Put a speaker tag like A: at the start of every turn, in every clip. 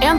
A: En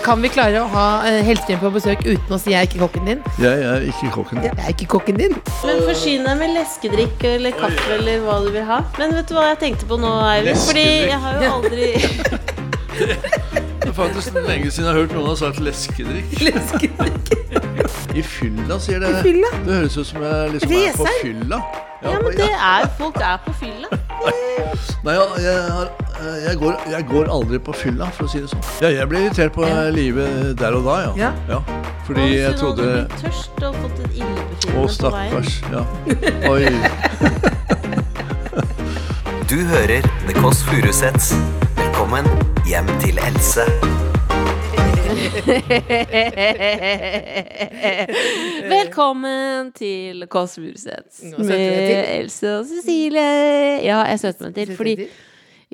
B: Kan vi klare å ha eh, helsehjelp på besøk uten å si 'jeg er ikke kokken din'?
C: Jeg er ikke kokken.
B: Jeg er ikke kokken din.
D: Men forsyn deg med leskedrikk eller kaffe eller hva du vil ha. Men vet du hva jeg tenkte på nå, Eivind? Fordi jeg har jo aldri
C: Det er faktisk lenge siden jeg har hørt noen ha sagt leskedrikk. I fylla, sier dere.
B: fylla?
C: Det høres ut som jeg liksom er på
B: Reser?
C: fylla.
D: Ja, men det er Folk er på fylla.
C: Nei, ja, jeg, har, eh, jeg, går, jeg går aldri på fylla, for å si det sånn. Ja, jeg ble irritert på eh, livet der og da, ja.
B: Ja.
C: ja. Fordi jeg trodde
D: Hun hadde blitt tørst og fått et
C: Å,
D: illebefinnende på veien.
C: stakkars. Ja. Oi.
E: Du hører The Kåss Furuseths. Velkommen hjem til Else.
D: Velkommen til Kåss Furuseths
B: Nå
D: med
B: søter jeg til.
D: Else og Cecilie. Ja, jeg søter meg til, fordi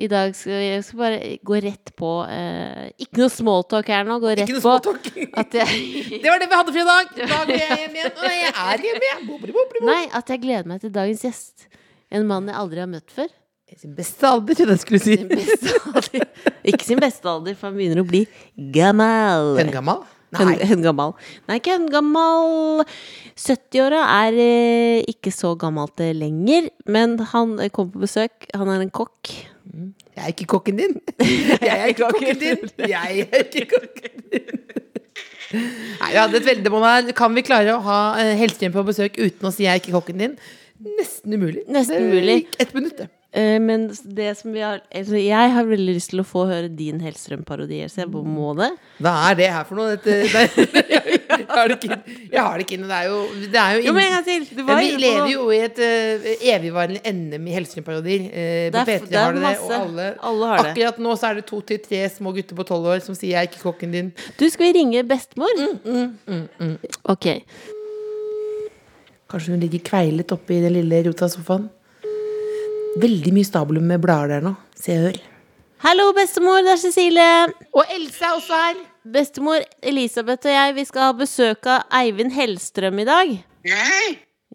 D: i dag skal jeg skal bare gå rett på eh, Ikke noe smalltalk her nå. Gå rett
B: Ikke noe
D: på
B: småtalk.
D: at jeg
B: Det var det vi hadde for i dag. Da går jeg hjem igjen. Og jeg er hjemme igjen. Bobri, bobri, bobri.
D: Nei, at jeg gleder meg til dagens gjest. En mann jeg aldri har møtt før.
B: Sin beste alder, trodde jeg skulle
D: Sin
B: si.
D: beste alder. Ikke sin beste alder, for han begynner å bli gammel.
B: Hun gammal?
D: Hun,
B: Nei.
D: hun gammal. Nei, ikke hun gammal. 70-åra er eh, ikke så gammelt eh, lenger, men han eh, kom på besøk. Han er en kokk.
B: Jeg er ikke kokken din. Jeg er ikke kokken din. Jeg er ikke kokken din. Nei, vi hadde et veldig bånd her. Kan vi klare å ha eh, helsehjelp på besøk uten å si 'jeg er ikke kokken din'? Nesten umulig.
D: Nesten
B: Det
D: umulig.
B: gikk Ett minutt, det.
D: Eh, Men det som vi har altså, Jeg har veldig lyst til å få høre din Hellstrøm-parodi, så jeg må det.
B: Hva er det her for noe? Dette, det, jeg, har det ikke, jeg har det ikke inne. Det er jo, det er jo,
D: Jo, men en
B: inn-
D: gang til! Du
B: Men
D: var
B: vi
D: inne på-
B: lever jo i et eh, evigvarende NM i helsesynparodier. Uh, på
D: Det er-
B: P3
D: det er
B: har det det, og
D: masse.
B: alle,
D: Alle har det.
B: Akkurat nå så er det to til tre små gutter på tolv år som sier 'jeg er ikke kokken din'.
D: Du, skal vi ringe bestemor? Ok.
B: Kanskje hun ligger kveilet oppe i den lille rota sofaen. Veldig mye stabler med blader der nå. Se og hør.
D: Hallo, bestemor. Det er Cecilie.
B: Og Else er også her.
D: Bestemor Elisabeth og jeg vi skal ha besøk av Eivind Hellstrøm i dag.
F: Nei,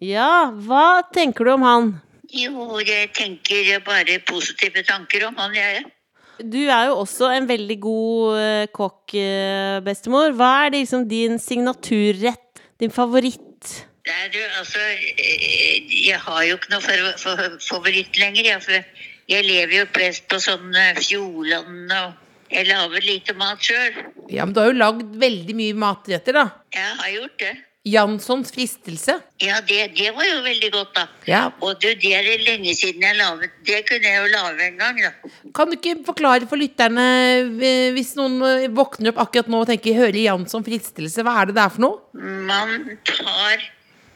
D: Ja, hva tenker du om han?
F: jo, jeg tenker bare positive tanker om han jeg er.
D: Du er jo også en veldig god eh, kokk, eh, bestemor. Hva er det liksom din signaturrett? Din favoritt?
F: Det er jo, altså, eh, jeg har jo ikke noe for, for, favoritt lenger, jeg, for jeg lever jo best på sånn eh, Fjordland og jeg lager lite mat sjøl.
B: Ja, men du har jo lagd veldig mye matretter, da.
F: Jeg har gjort det.
B: Janssons fristelse.
F: Ja, det, det var jo veldig godt, da.
B: Ja.
F: Og du, det er det lenge siden jeg laget. Det kunne jeg jo lage en gang, da.
B: Kan du ikke forklare for lytterne, eh, hvis noen eh, våkner opp akkurat nå og tenker 'hører Jansson fristelse', hva er det det er for noe?
F: Man tar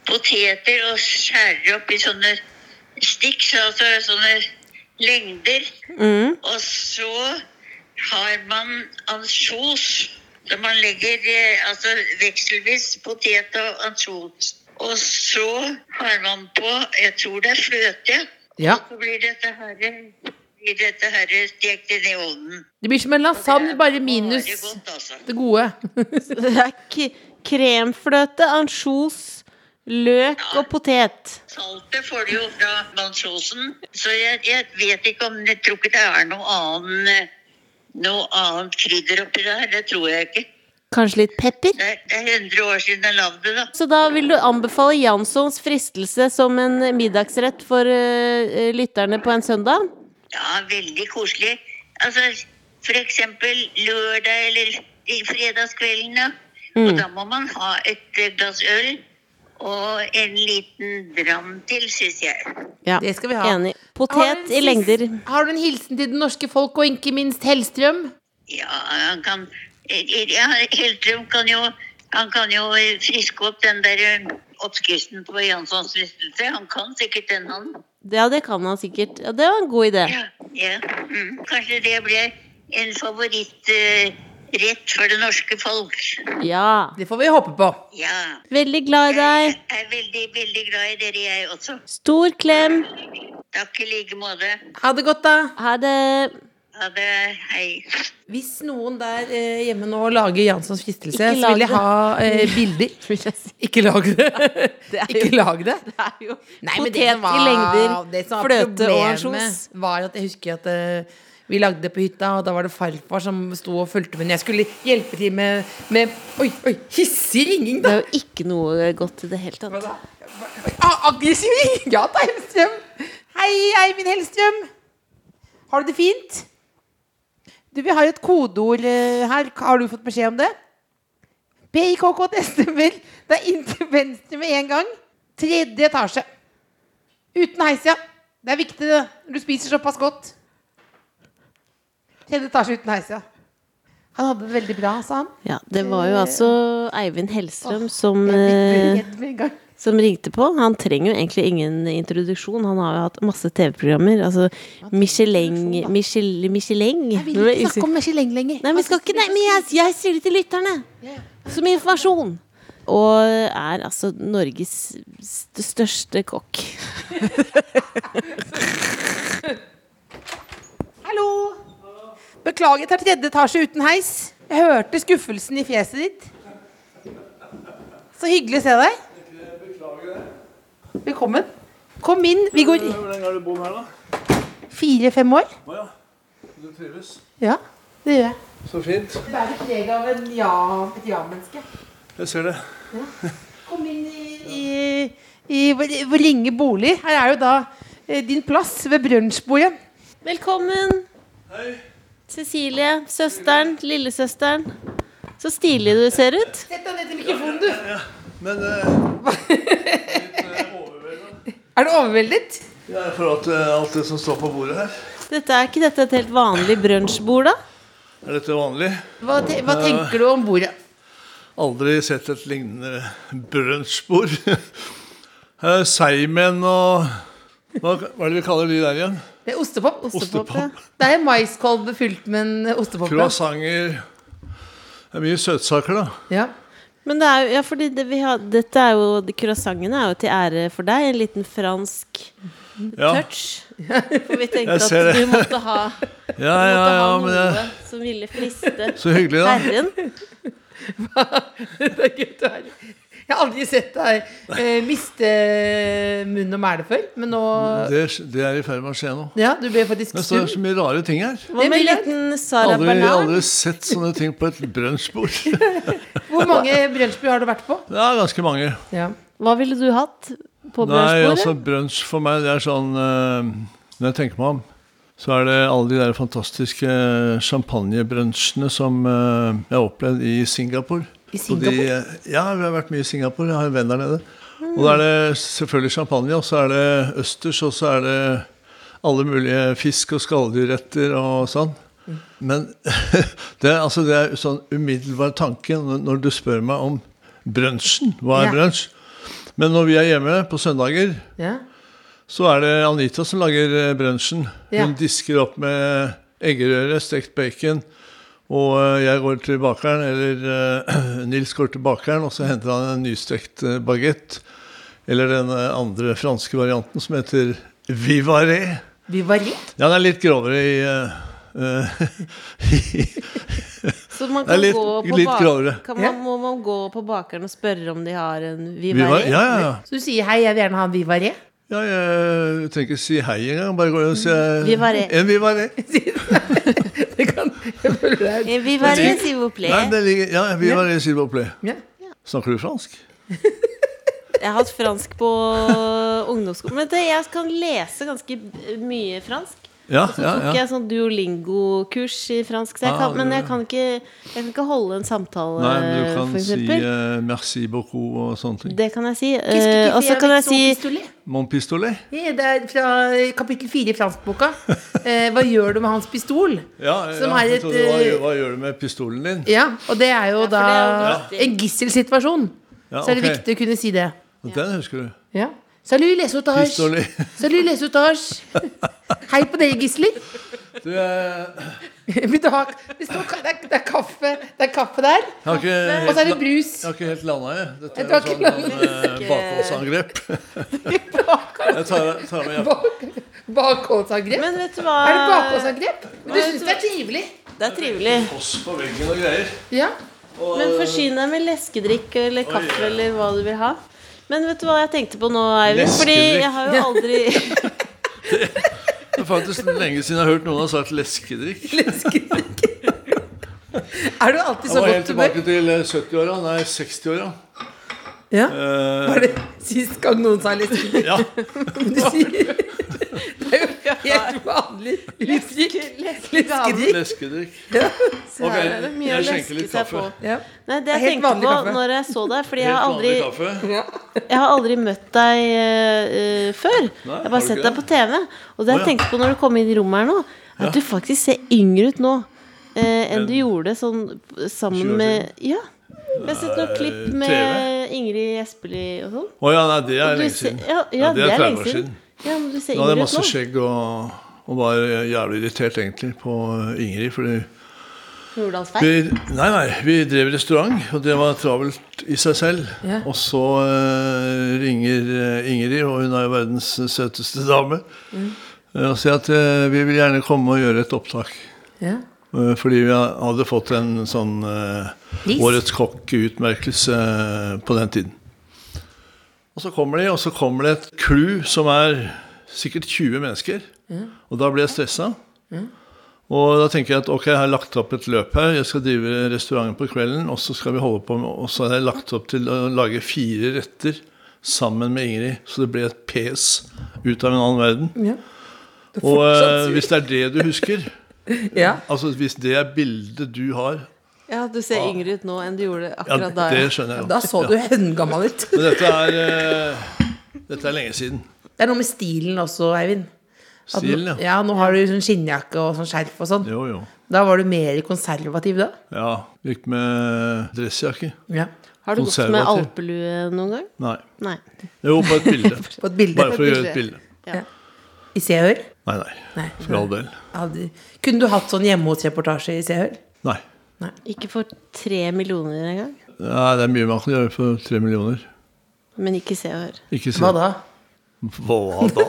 F: poteter og skjærer opp i sånne sticks, altså sånne lengder.
D: Mm.
F: Og så har man ansjos. Så man legger eh, altså vekselvis potet og ansjos. Og så har man på Jeg tror det er fløte.
B: Ja.
F: Og så blir dette her blir dette her stekt inn i ovnen.
B: Det blir som en lasagne, bare minus
F: Bare godt, altså.
B: det gode.
D: Det er k kremfløte, ansjos, løk og potet.
F: Saltet får du jo fra ansjosen, så jeg, jeg vet ikke om Jeg tror ikke det er noe annet, noe annet krydder oppi der. Det tror jeg ikke.
D: Kanskje litt pepper?
F: Det er- det er 100 år siden jeg lagde det, da.
D: Så da vil du anbefale Janssons fristelse som en middagsrett for eh, lytterne på en søndag?
F: Ja, veldig koselig. Altså, for eksempel lørdag eller i fredagskvelden, da. Og da må man ha et eh, glass øl og en liten dram til, syns jeg.
D: Ja,
B: Det skal vi ha.
D: Enig.
B: Har du en
D: Potet i
B: siste-
D: lengder.
B: Har du en hilsen til det norske folk, og ikke minst Hellstrøm?
F: Ja, han kan ja, Heltrum kan jo han kan jo friske opp den der eh, oppskriften på Janssons fristelse. Han kan sikkert den, han.
D: Ja, det kan han sikkert. Ja, det var en god idé.
F: Ja, ja. Mm. Kanskje det blir en favorittrett for det norske folk.
D: Ja.
B: Det får vi håpe på.
F: Ja.
D: Veldig glad i
F: Jeg
D: deg.
F: er veldig, veldig glad i dere, jeg også.
D: Stor klem.
F: Takk i like måte.
B: Ha det godt, da.
D: Ha det.
F: Ha det. Hei.
B: Hvis noen der eh, hjemme nå lager Janssons fristelse,
D: Ikke
B: så vil
D: lag
B: jeg ha eh, bilder.
D: vil jeg si.
B: Ikke lag det.
D: Det er jo-
B: Ikke lag det.
D: Det er jo
B: Nei, men
D: potet
B: det som var-
D: i lengder,
B: det som var
D: fløte og
B: problemet
D: ansjos.
B: Var at jeg husker at eh, vi lagde det på hytta, og da var det farfar som sto og fulgte med. Jeg skulle hjelpe til med, med Oi, oi, hissig ringing,
D: Det
B: da!
D: er jo ikke noe godt i det hele tatt.
B: Ah, aggressiv ringing! Ja da, Hellstrøm. Hei, Eivind Hellstrøm. Har du det fint? Du, vi har jo et kodeord eh, her. Har du fått beskjed om det? PIKK-testnummer. Det er inn til venstre med en gang. Tredje etasje. Uten heis, ja. Det er viktig, det. når Du spiser såpass godt. Tredje etasje uten heis, ja. Han hadde det veldig bra, sa han.
D: Ja, det var jo altså Eivind Hellstrøm som, eh,
B: Jeg fikk rett med en gang.
D: som ringte på. Han trenger jo egentlig ingen introduksjon. Han har jo hatt masse TV-programmer. Altså Michelin
B: introduksjon, da?
D: Michelin, Michelin.
B: Jeg vil ikke snakke om Michelin lenger.
D: Nei, vi skal ikke, nei, men jeg, jeg sier det til lytterne. Som informasjon. Og er altså Norges st største kokk.
B: Hallo. Beklager, jeg tar tredje etasje uten heis. Jeg hørte skuffelsen i fjeset ditt. Så hyggelig å se deg. Velkommen. Kom inn. Vi går
C: Hvor lenge har du bodd her, da?
B: fire-fem år.
C: Å ja. Du trives?
B: Ja, det gjør jeg.
C: Så fint.
B: Du bærer preg av en ja, et ja-menneske.
C: Jeg ser det.
B: Kom inn i, i, i vår vår lenge bolig. Her er jo da eh, din plass ved brunsjbordet.
D: Velkommen.
C: Hei.
D: Cecilie. Søsteren. Lillesøsteren. Så stilig du ser ut.
B: Sett deg ned til mikrofonen, du.
C: Men eh, litt eh, overveldet.
B: Er du overveldet?
C: Ja, i forhold til alt det som står på bordet her.
D: Dette Er ikke dette et helt vanlig brunsjbord, da?
C: Er dette vanlig?
B: Hva, te, hva tenker du om bordet?
C: Aldri sett et lignende brunsjbord. Eh, Seigmenn og hva, hva er det vi kaller de der igjen?
B: Det er ostepop.
C: Ostepop.
B: ja. Det er maiskolbe fylt med en ostepop. ja.
C: Croissanter. Det er mye søtsaker, da.
B: Ja.
D: Men det er jo, ja, fordi det vi har, dette er jo, de croissantene er jo til ære for deg. En liten fransk
C: Ja,
D: touch. For vi tenkte
C: Jeg ser
D: at
C: det.
D: du måtte ha,
C: ja,
D: måtte
C: ja, ja
D: ha
C: men
D: noe
C: det,
D: som ville friste
C: Så hyggelig, da.
D: herren.
B: Det er gøy du er. Jeg har aldri sett deg eh, miste munn og mæle før, men nå
C: Det, det er i ferd med å skje nå.
B: Ja, du ble faktisk
C: Det står
B: stum.
C: så mye rare ting her.
D: Hva med en liten Sara
C: Aldri,
D: Bernard?
C: aldri sett sånne ting på et brunsjbord.
B: Hvor mange brunsjbord har du vært på?
C: Det er ganske mange.
B: Ja.
D: Hva ville du hatt på
C: Nei, altså
D: brunsjbordet?
C: brunsj for meg, det er sånn eh, Når jeg tenker meg om, så er det alle de der fantastiske champagnebrunsjene som eh, jeg har opplevd i Singapore.
B: I
C: Og de-
B: Singapore?
C: ja, vi har vært mye i Singapore. Jeg har en venn der nede. Og da er det selvfølgelig champagne, og så er det østers, og så er det alle mulige fisk- og skalldyrretter og sånn. Men det, er- altså, det er sånn umiddelbar tanke når når du spør meg om brunsjen. Hva
B: Ja.
C: er brunsj? Men når vi er hjemme på søndager,
B: ja.
C: så er det Anita som lager eh, brunsjen.
B: Ja.
C: Hun disker opp med eggerøre, stekt bacon, og eh, jeg går til bakeren, eller eh, Nils går til bakeren, og så henter han en nystekt eh, baguette. Eller den eh, andre franske varianten som heter vivaré.
B: Vi var rett.
C: Ja, den er litt grovere i eh, eh,
D: Så man
C: det er
D: kan
C: litt-
D: gå på
C: litt
D: bak-
C: grovere.
D: Kan man, må man gå på bakeren og spørre om de har en
C: Vivaré?
D: Vivaré?
C: Ja, ja, ja.
B: Så du sier hei, jeg vil gjerne ha en Vivaré.
C: Ja, jeg trenger ikke si hei engang. Bare gå og si eh,
D: Vivaré.
C: En vivaré.
B: Det kan jeg føler det er-
D: En Vivaré, s'il vous
C: Nei,
D: plaît.
C: det ligger, ja, vivaré, s'il vous plaît.
B: Ja.
C: Snakker du fransk?
D: Jeg har hatt fransk på ungdomsskolen. Men det, jeg kan lese ganske b- mye fransk.
C: Ja,
D: Så
C: ja,
D: tok
C: ja.
D: jeg sånn duolingo-kurs i fransk, så jeg
C: Ah,
D: kan, men
C: du-
D: jeg kan, ikke, jeg kan ikke holde en samtale,
C: Nei, men du kan
D: for
C: si
D: eksempel.
C: eh, merci beaucoup og sånne ting.
D: Det kan jeg si. Eh, og så kan jeg si
C: Mon pistolet?
B: Ja, sånn Eh, Det er fra kapittel fire i franskboka. Eh, hva gjør du med hans pistol?
C: Ja,
B: Som er
C: jeg
B: et,
C: trodde, hva,
B: eh,
C: gjør- hva gjør du med pistolen din?
B: Ja, og det er jo
D: for det
B: da
D: er jo viktig.
B: en gisselsituasjon.
C: Ja,
B: Så er det
C: ok.
B: viktig å kunne si det.
C: Og Den husker du.
B: Ja. Salut, les otages.
C: Pistolet.
B: Salut, les otages. Hei på dere, gisler.
C: Du, eh,
B: Vil du ha det, står, ka- det, er, det, er kaffe, det er kaffe der,
C: jeg har ikke
B: og så er det
C: helt,
B: brus.
C: jeg har ikke helt landa, jeg. Dette
B: Du har
C: er
B: ikke
C: jo sånn eh, bakholdsangrep. Jeg tar, tar med hjem.
B: Bak- Bakholdsangrep.
D: Men vet du hva?
B: eh, Er det bakholdsangrep? Men du syns det er trivelig?
D: Det er trivelig.
C: Koss på veggen og greier.
B: Ja.
C: Og,
D: Men forsyn deg med leskedrikk eller kaffe eller hva du vil ha. Men vet du hva jeg tenkte på nå, Eivind? Fordi
C: Leskedrikk.
D: jeg har jo aldri
C: Det er eh, faktisk lenge siden jeg har hørt noen ha sagt leskedrikk.
B: Er du alltid
C: Jeg
B: så
C: var helt
B: godt humør?
C: tilbake til eh, 70-åra, nei 60-åra.
B: Ja.
C: Eh,
B: Var det sist gang noen sa leskedrikk?
C: ja.
B: Du sier Det er jo helt vanlig livsdrikk. Leskedrikk.
C: Leskedrikk.
D: Så her er det
C: Ok,
D: mye
C: jeg
D: å
C: skjenker
D: leske
C: litt
D: seg
C: kaffe.
D: på.
B: Ja.
D: Nei, det jeg
B: Helt
D: tenkte
B: vanlig
D: på
B: kaffe.
D: når jeg så deg Fordi jeg
C: Helt
D: har aldri,
C: vanlig kaffe.
D: jeg har aldri møtt deg eh, eh, før. jeg har
C: har
D: bare
C: du
D: sett
C: ikke
D: deg på TV. Og det
C: Å, ja.
D: jeg tenkte på når du kom inn i rommet her nå, at du faktisk ser yngre ut nå eh, enn du gjorde sånn sammen
C: år
D: med Ja. Jeg har sett noen klipp
C: TV.
D: med Ingrid Espelid og sånn.
C: Å ja, nei, det er
D: Du
C: lenge
D: ser-
C: siden.
D: Ja, ja, det er
C: 30
D: lenge siden. Ja, men du ser
C: Da hadde jeg
D: yngre ut
C: masse
D: nå.
C: skjegg og, og var eh, jævlig irritert egentlig på eh, Ingrid. Fordi
D: Hurdalsberg.
C: vi, nei, nei, vi drev restaurant, og det var travelt i seg selv.
B: Ja.
C: Og så eh, ringer eh, Ingrid, og hun er jo verdens søteste dame,
D: Mm.
C: eh, og sier at eh, vi vil gjerne komme og gjøre et opptak.
B: Ja.
C: Eh, Fordi vi hadde fått en sånn eh,
B: Pris?
C: Årets kokk-utmerkelse eh, på den tiden. Og så kommer de, og så kommer det et crew som er sikkert 20 mennesker. Og da blir jeg stressa. Og da tenker jeg at ok, jeg har lagt opp et løp her. Jeg skal drive restauranten på kvelden, og så skal vi holde på med, og så har jeg lagt opp til å lage fire retter sammen med Ingrid. Så det ble et pes ut av en annen verden.
B: Ja.
C: Og
B: fortsatt
C: eh,
B: sur.
C: hvis det er det du husker
B: ja.
C: Altså Hvis det er bildet du har
D: Ja, du ser yngre ut nå enn du gjorde
C: ja,
D: akkurat da.
C: Det
D: ja.
C: skjønner jeg.
B: Da så du høngammal ut.
C: Men dette er, eh, dette er lenge siden.
B: Det er noe med stilen også, Eivind. At nå-
C: Stilen, ja.
B: ja. Nå har du sånn skinnjakke og sånn skjerf og sånn.
C: Jo, jo.
B: Da var du mer konservativ da?
C: Ja, Gikk med dressjakke.
B: Ja.
D: Har du gått med
C: konservativ.
D: alpelue noen gang?
C: Nei.
D: Nei.
C: Jo, på et bilde.
B: På et bilde.
C: Bare for å gjøre et bilde.
B: I Se og Hør?
C: Nei, nei.
B: Nei.
C: For all del.
B: Hadde- Kunne du hatt sånn hjemme hos-reportasje i Se og Hør?
C: Nei.
D: Ikke for tre millioner engang.
C: Ja, det er mye man kan gjøre for tre millioner.
D: Men ikke se og hør.
C: Ikke si
B: Hva da?
C: Hva da?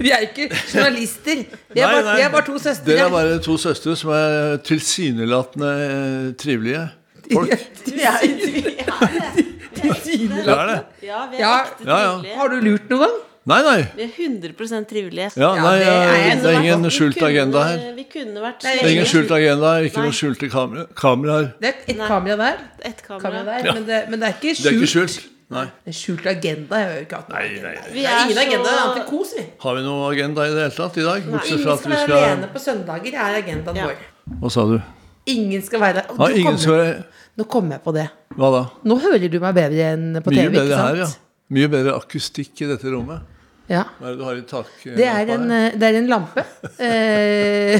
B: Vi er ikke journalister. Vi er
C: Nei,
B: bare,
C: nei,
B: vi er bare to
C: Dere
B: søstre.
C: er bare to søstre som er tilsynelatende eh, trivelige folk.
B: Vi er- Tilsynelatende.
C: Det er det.
D: Ja, vi er
B: Ja.
D: ekte
C: Ja, ja.
D: trivelige.
B: Har du lurt noen gang?
C: Nei, nei.
D: Vi er 100 trivelige.
C: Ja, nei,
B: det er
C: eh,
B: jeg
C: det er
B: som
C: ingen
D: Vi
C: skjult
D: kunne-
B: eh,
C: agenda her.
D: Vi kunne vært
B: Nei,
C: Det er ingen
D: slemme.
C: skjult agenda, ikke
D: Nei.
C: noen skjulte kamera- kameraer.
B: Det er et
D: Nei.
B: kamera der.
D: Et
B: Kamera
D: kamera.
B: der. Men, det, men det er ikke
C: Det er ikke
B: skjult.
C: skjult. Nei.
B: Det er skjult agenda. Jeg har jo ikke hatt noe.
D: Vi
B: Det er ingen
D: så-
B: agenda. Det er antikos, vi.
C: Har vi noen agenda i det hele tatt i dag?
B: Ingen
C: Bortsett fra at
B: skal
C: vi
B: være
C: skal
B: alene på søndager, er agendaen
D: Ja.
B: vår.
C: Hva sa du?
B: Ingen skal være
C: Ja,
B: Du
C: ingen
B: kommer-
C: skal være
B: Nå kom jeg på det.
C: Hva da?
B: Nå hører du meg bedre enn på
C: Mye
B: TV, ikke
C: bedre her,
B: sant?
C: ja. Mye bedre akustikk i dette rommet.
B: Ja.
C: Hva er det du har i tak?
B: Det er en, eh, det er en lampe. Eh,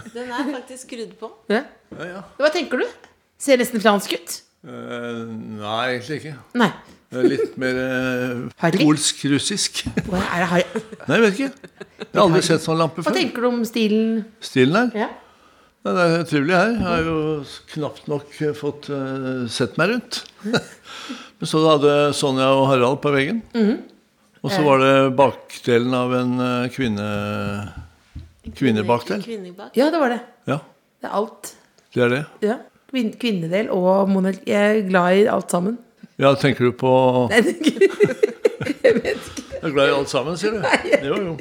D: Den er faktisk skrudd på.
B: ja.
C: ja, ja.
B: Hva tenker du? Ser nesten fransk ut.
C: Eh, Nei, egentlig ikke.
B: Nei.
C: Det er litt mer eh,
B: Harry?
C: polsk-russisk.
B: Hva, er det her?
C: Nei, jeg vet ikke. Jeg har aldri sett sånn lampe før.
B: Hva tenker du om stilen?
C: Stilen her.
B: Ja.
C: Nei, Det er trivelig her. Jeg har jo knapt nok eh, fått eh, sett meg rundt. Men så hadde Sonja og Harald på veggen.
B: Mhm.
C: Og så var
B: Eh.
C: det bakdelen av en eh, kvinne... Kvinnebakdel.
D: Kvinnebak.
B: ja, det var det.
C: Ja,
B: Det er alt.
C: det er det.
B: Ja. Kvin kvinnedel og monarki. Jeg er glad i alt sammen.
C: Ja, tenker du på
B: Nei, det er ikke-
C: Jeg er glad i alt sammen, sier du? Jo, jo.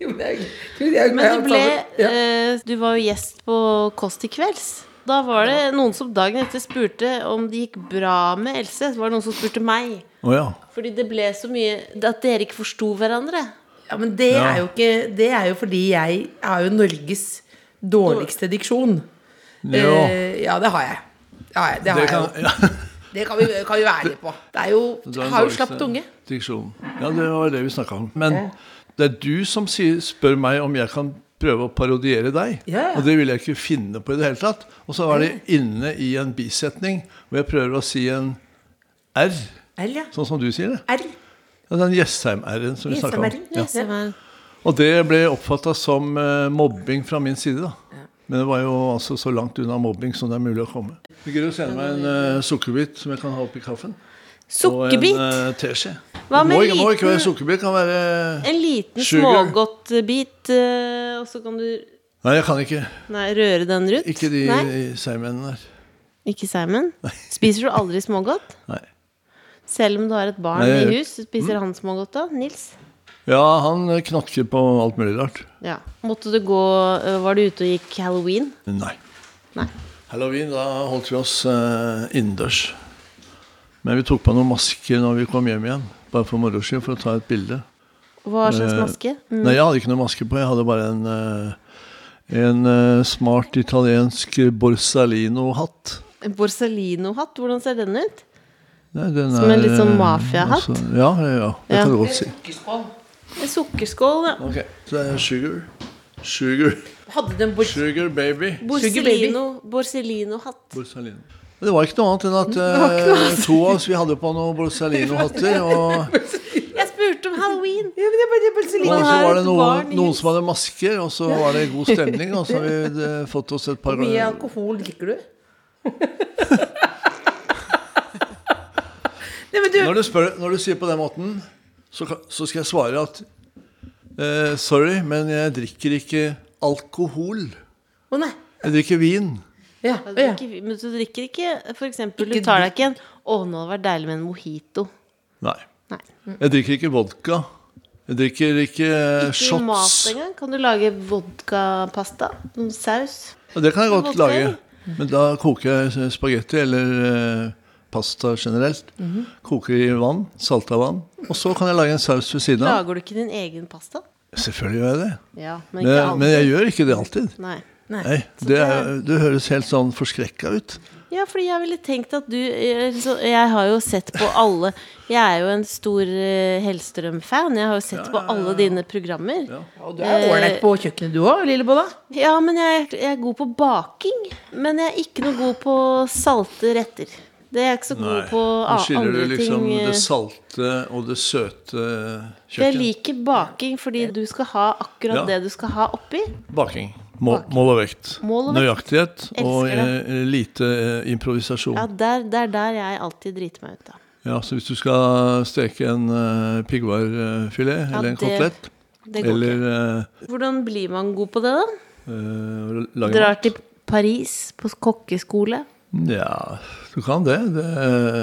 B: Jo, men jeg jeg er glad i
D: Men
B: alt
D: du ble
B: sammen. Ja.
D: eh, Du var jo gjest på Kåss til kvelds. Da var det noen som dagen etter spurte om det gikk bra med Else. Så var det noen som spurte meg.
C: Å ja.
D: Fordi det ble så mye At dere ikke forsto hverandre.
B: Ja, men det
C: Ja.
B: er jo ikke Det er jo fordi jeg har jo Norges dårligste diksjon.
C: Jo,
B: Eh, ja, det har jeg. Ja, ja, det har
C: det
B: jeg
C: kan
B: jo.
C: ja,
B: Det kan vi, kan vi være ærlige på. Det er jo,
C: det er den
B: har jo
C: dårligste
B: slapt unge.
C: Diksjonen. Ja, det var det vi snakka om. Men det er du som sier, spør meg om jeg kan prøve å parodiere deg.
B: Ja, ja.
C: Og det ville jeg ikke finne på i det hele tatt. Og så var det inne i en bisetning hvor jeg prøver å si en R,
B: L, ja.
C: sånn som du sier det.
B: R.
C: Ja, den Jessheim-R-en som vi snakka om.
B: Jessheim-R-en,
C: Ja.
D: Se hva-
C: Og eh, det ble oppfatta som eh, mobbing fra min side, da. Men det var jo altså så langt unna mobbing som det er mulig å komme. Du gidder å sende meg en eh, sukkerbit som jeg kan ha oppi kaffen.
D: Sukkerbit?
C: Og en eh, teskje.
D: Hva
C: Det
D: med
C: må, ikke- må ikke
D: liten-
C: være sukkerbit, det kan være
D: En liten
C: Sugar.
D: smågodtbit eh, og så kan du
C: Nei, jeg kan ikke.
D: nei, røre den rundt?
C: Ikke de
D: Nei,
C: seigmennene der.
D: ikke Simon? Spiser du aldri smågodt?
C: Nei.
D: Selv om du har et barn
C: Nei, jeg- Mm.
D: i hus, spiser han smågodt da? Nils?
C: Ja, han knakker på alt mulig rart.
D: Ja. Måtte du gå øh, Var du ute og gikk halloween?
C: Nei.
D: Nei.
C: Halloween, da holdt vi oss eh, innendørs. Men vi tok på noen masker når vi kom hjem igjen. Bare for moro skyld, for å ta et bilde.
D: Hva slags
C: Eh,
D: maske? Mm.
C: Nei, jeg hadde ikke noen maske på. Jeg hadde bare en, eh, en eh, smart italiensk Borsalino-hatt.
D: En Borsalino-hatt, hvordan ser den ut?
C: Nei, den
D: Som en
C: er,
D: litt sånn
C: eh,
D: mafia-hatt?
C: altså- Ja, ja, ja. Det
D: Ja.
C: kan du godt si.
D: En sukkerskål, ja.
C: Ok, så det er sugar. Sugar.
B: Hadde den bort...
C: Sugar baby.
B: Sugar baby.
D: Borsalino- Borsalino-hatt.
C: Borsalino. Det var ikke noe annet enn at eh, to av oss vi hadde på noen Borsalino-hatter. Og,
D: Jeg spurte om halloween!
B: Ja, men det er bare, det er bare så
C: og
B: lite.
D: Man
C: så
D: har
C: var det
D: et barn
C: noen,
D: i
C: noen
D: hus.
C: som hadde masker, og så var det god stemning. Og så har vi eh, fått oss et par
B: Hvor mye alkohol drikker du? Nei, men du
C: Når du, spør, når du sier på den måten, så, kan- så skal jeg svare at eh, Sorry, men jeg drikker ikke alkohol.
B: Å, nei.
C: Jeg drikker vin.
B: Ja,
D: Du
B: ja.
D: drikker, men du drikker ikke for eksempel,
B: Ikke
D: Du tar deg ikke en 'Å, nå hadde det vært deilig med en mojito'.
C: Nei.
D: Nei.
C: Jeg drikker ikke vodka. Jeg drikker ikke, eh,
D: Ikke mat
C: shots.
D: engang. Kan du lage vodkapasta? Noen saus?
C: Og det kan jeg godt
D: Vodka,
C: lage.
D: eller?
C: Men da koker jeg spagetti eller eh, pasta generelt.
D: Mhm.
C: Koker i vann, salta vann. Og så kan jeg lage en saus ved siden av.
D: Lager du ikke din egen pasta?
C: Selvfølgelig gjør jeg det.
D: Ja,
C: Men,
D: men ikke
C: jeg-
D: alltid.
C: men jeg gjør ikke det alltid.
D: Nei.
C: Nei, det, er, det høres helt sånn forskrekka ut.
D: Ja, fordi jeg ville tenkt at du eh, så Jeg har jo sett på alle Jeg er jo en stor eh, Hellstrøm-fan. Jeg har jo sett på alle dine programmer. Ja,
B: Og Du er ålreit på kjøkkenet du òg, Lillebolla.
D: men jeg, jeg er god på baking. Men jeg er ikke noe god på salte retter. Det er jeg ikke så god på
C: Nå
D: a-
C: skiller
D: andre
C: du liksom
D: ting. eh.
C: det salte og det søte
D: Jeg
C: kjøkken.
D: liker baking fordi du skal ha akkurat
C: Ja.
D: det du skal ha oppi.
C: Baking. Mål, mål og vekt.
D: Mål og vekt.
C: Nøyaktighet og
D: Elsker det.
C: eh, lite eh, improvisasjon.
D: Ja, der, Det er der jeg alltid driter meg ut, da.
C: Ja, så hvis du skal steke en uh, piggvarfilet
D: Ja,
C: eller en
D: det-
C: kotelett
D: Det går
C: Eller
D: ikke.
C: eh,
D: Hvordan blir man god på det, da?
C: eh, lage
D: Drar
C: mat.
D: til Paris på kokkeskole.
C: Ja, du kan det. det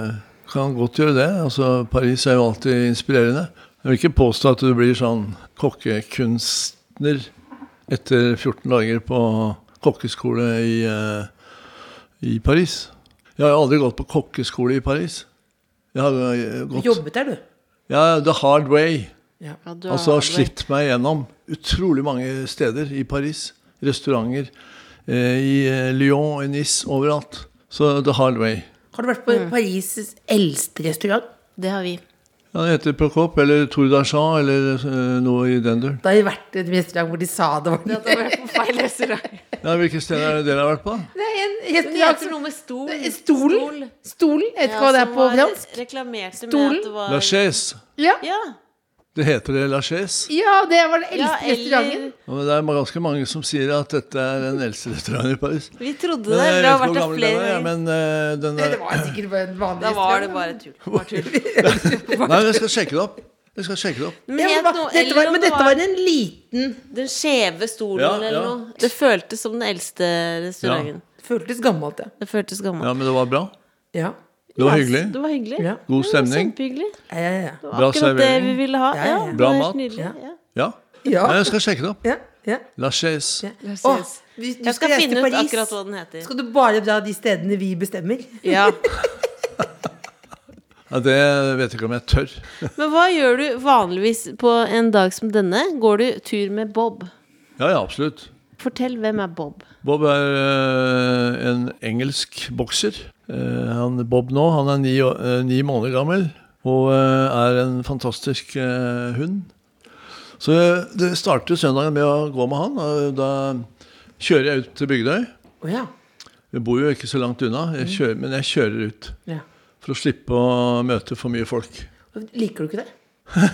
C: eh, du kan godt gjøre det. Altså, Paris er jo alltid inspirerende. Jeg vil ikke påstå at du blir sånn kokkekunstner etter 14 dager på kokkeskole i, eh, i Paris. Jeg har jo aldri gått på kokkeskole i Paris. Jeg har eh,
B: Du
C: gått
B: jobbet der, du.
C: ja, The Hard Way.
D: Ja, du
C: Altså
D: har-
C: har slitt meg gjennom utrolig mange steder i Paris. Restauranter eh, i eh, Lyon, i Nice, overalt. Så The Hard Way.
B: Har du vært på Paris' eldste restaurant?
D: Det har vi.
C: Ja, det heter Prokop eller Tour d'Argent eller eh, noe i den duren.
B: Da har jeg vært i et restaurant hvor de sa det var
D: Det har vært på feil restaurant.
C: Ja, hvilke steder er det dere har vært på?
B: Det er en
D: Det
B: restaurant
D: heter noe med stol.
B: som- Stolen. Stolen. Jeg vet ikke hva det er på fransk.
D: Reklamerte med
B: Stolen.
D: at det var
C: La Chaise.
B: Ja.
D: Ja,
C: Det heter det La Chaise.
B: ja, det var den
D: ja,
B: eldste
C: Ja,
D: eller
B: restauranten.
C: men Det er ganske mange som sier at dette er den eldste restauranten i Paris.
D: Vi trodde
C: Men
D: det.
C: jeg
D: Det har
C: vet ikke hvor
D: vært der
C: gammel den
D: flere
C: er, jeg,
D: ganger.
C: men eh, den
B: Nei,
C: er
B: Det var sikkert bare en vanlig
D: Da var det
B: restaurant.
D: bare tull. Det var tull.
C: Nei, jeg skal sjekke det opp. Jeg skal sjekke det opp.
D: Men
B: Ja,
D: het
B: men, hva-
D: noe-
B: dette
D: eller
B: var,
D: om
B: men
D: det
B: dette var en liten
D: den skjeve stolen
C: Ja, ja.
D: eller noe. Det føltes som den eldste restauranten.
B: Føltes gammelt, ja.
D: Det føltes gammelt.
C: Ja, men det var bra.
B: Ja.
C: Det var hyggelig.
D: Det var hyggelig.
B: Ja.
C: God stemning.
D: Kjempehyggelig. Det
B: Ja, ja, ja.
D: var
C: Bra
D: Akkurat det vi
C: servering.
D: ville ha.
B: Ja, ja,
D: Ja,
B: ja.
D: det
C: Bra
D: var helt
C: mat.
D: nydelig,
B: Ja.
D: ja.
C: Ja.
B: Ja.
C: Nei, jeg skal sjekke det opp.
B: ja, ja.
C: La Chaise.
B: Åh, vi- du
D: Jeg skal
B: reise
D: finne
B: til
D: ut
B: Paris.
D: akkurat hva den heter.
B: Skal du bare dra de stedene vi bestemmer?
D: Ja.
C: Ja, det vet jeg ikke om jeg tør.
D: Men hva gjør du vanligvis på en dag som denne? Går du tur med Bob?
C: Ja, ja, absolutt.
D: Fortell, hvem er Bob?
C: Bob er eh, en engelsk bokser. Eh, han, Bob nå, han er ni, å- eh, ni måneder gammel og eh, er en fantastisk eh, hund. Så eh, det startet søndagen med å gå med han. Og da kjører jeg ut til Bygdøy.
B: Å ja.
C: Vi bor jo ikke så langt unna, jeg kjører, men jeg kjører ut.
B: ja.
C: For å slippe å møte for mye folk.
B: Liker du ikke det?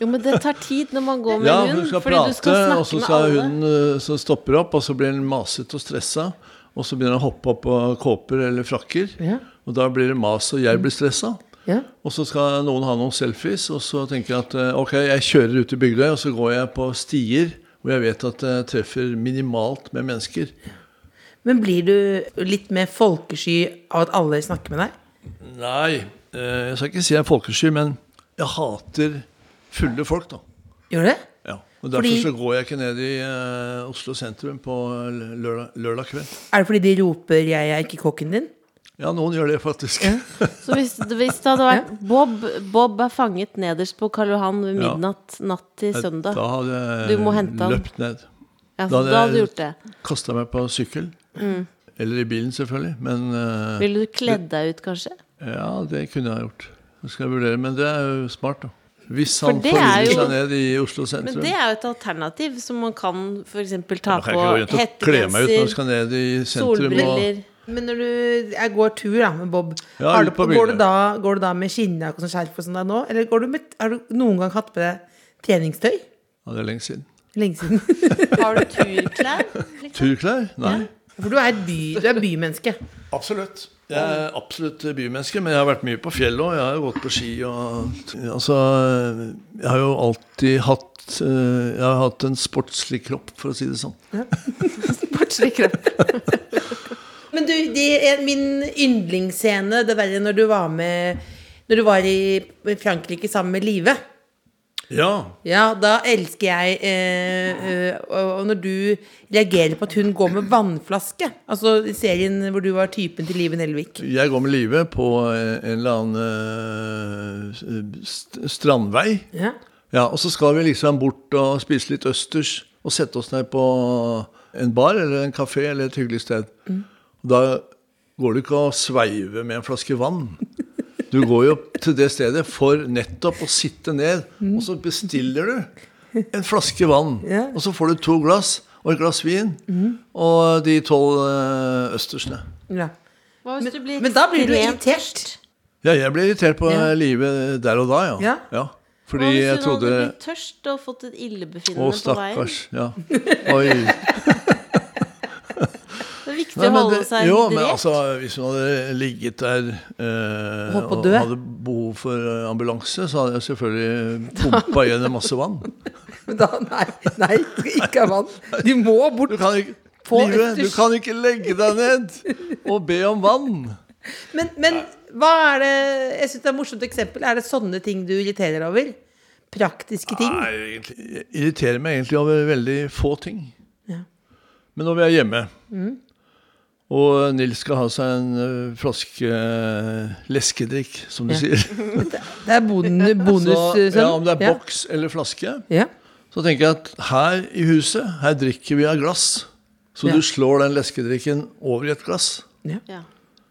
D: Jo, men det tar tid når man går med
C: Ja,
D: hund.
C: hun skal
D: fordi
C: prate,
D: du skal
C: og
D: snakke
C: så
D: med
C: skal
D: alle.
C: hun eh, så stopper opp, og så blir hun masete og stressa. Og så begynner hun å hoppe opp på kåper eller frakker.
B: Ja.
C: Og da blir det mas, og jeg blir stressa.
B: Ja.
C: Og så skal noen ha noen selfies, og så tenker jeg at eh, ok, jeg kjører ut i Bygdøy, og så går jeg på stier hvor jeg vet at jeg treffer minimalt med mennesker.
B: Men blir du litt mer folkesky av at alle snakker med deg?
C: Nei, eh, jeg skal ikke si jeg er folkesky, men jeg hater fulle folk, da.
B: Gjør du det?
C: Ja. Og Derfor
B: Fordi-
C: så går jeg ikke ned i eh, Oslo sentrum på l- lørdag, lørdag kveld.
B: Er det fordi de roper 'jeg er ikke kokken din'?
C: Ja, noen gjør det faktisk.
D: Så hvis, hvis det hadde vært Bob, Bob er fanget nederst på Karl Johan ved
C: Ja.
D: midnatt natt til søndag.
C: Da hadde jeg
D: sånn Du må hente han.
C: løpt ned.
D: Ja, så da hadde du gjort det.
C: kasta meg på sykkel.
D: Mm.
C: Eller i bilen, selvfølgelig. Men eh,
D: Ville du kledd deg ut, kanskje?
C: ja, det kunne jeg gjort. Det skal jeg vurdere. Men det er jo smart, da. Hvis
D: For
C: han
D: det er
C: forviller
D: jo-
C: seg ned i Oslo
D: Men
C: sentrum.
D: det er jo et alternativ som man kan f.eks. ta
C: Da kan jeg
D: på
C: ikke gå rundt og kle meg ut når jeg
D: hettegenser,
C: skal ned i sentrum. Og,
D: solbriller
B: Men når du jeg går tur da, med Bob,
C: Ja,
B: har
C: ut
B: du,
C: på
B: går, du
C: bildet.
B: da, går du da med skinnjakke og sånn skjerf og sånn der nå? Eller går du med, har du noen gang hatt på deg treningstøy?
C: ja, det er lenge siden.
B: Lenge siden.
D: Har du turklær?
C: Turklær? Nei.
B: For du er, et by, du er bymenneske.
C: Absolutt. Jeg er absolutt bymenneske, men jeg har vært mye på fjellet òg. Jeg har jo gått på ski og Altså, jeg har jo alltid hatt eh, Jeg har hatt en sportslig kropp, for å si det sånn.
D: Sportslig kropp.
B: Men du, de, min yndlingsscene, det verre når du var med Når du var i Frankrike sammen med Live.
C: Ja.
B: Ja, da elsker jeg eh, eh, Og og når du reagerer på at hun går med vannflaske. Altså i serien hvor du var typen til Live Nelvik.
C: Jeg går med livet på eh, en eller annen eh, st strandvei.
B: Ja.
C: Ja, Og så skal vi liksom bort og spise litt østers og sette oss ned på en bar eller en kafé eller et hyggelig sted. Og Da går det ikke å sveive med en flaske vann. Du går jo til det stedet for nettopp å sitte ned, og så bestiller du en flaske vann.
B: Ja.
C: Og så får du to glass og et glass vin og de tolv eh, østersene.
B: Ja.
D: Hva hvis du blir
B: Men da blir du
D: ekstremt
B: irritert.
C: Ja, jeg ble irritert på
B: Ja.
C: livet der og da, ja.
B: Ja.
C: Fordi
D: Hva hvis
C: jeg
D: hun
C: trodde
D: hadde blitt tørst og fått et illebefinnende
C: Å,
D: på veien?
C: stakkars. Ja. Oi.
D: Det er viktig
C: Nei,
D: å
C: men
D: holde
C: det-
D: seg
C: jo, men
D: hydrert.
C: altså, hvis hun hadde ligget der eh,
B: Håpet
C: og
B: død.
C: hadde behov for eh, ambulanse, så hadde jeg selvfølgelig pumpa igjen masse vann.
B: Men da, nei, nei, du skal ikke ha vann. Du må bort.
C: Du kan ikke,
B: Få
C: livet, du
B: østers.
C: kan ikke legge deg ned og be om vann.
B: Men, men hva er det Jeg syns det er et morsomt eksempel. Er det sånne ting du irriterer over? Praktiske ting?
C: Nei, egentlig, jeg irriterer meg egentlig over veldig få ting.
B: Ja.
C: Men når vi er hjemme, og Nils skal ha seg en ø, flaske ø, leskedrikk, som du sier
B: Det er bon,
C: så,
B: bonussønn.
C: Altså, ja, Om det er boks eller flaske,
B: Ja.
C: så tenker jeg at her i huset, her drikker vi av glass. Så
B: Ja.
C: du slår den leskedrikken over i et glass,
D: Ja.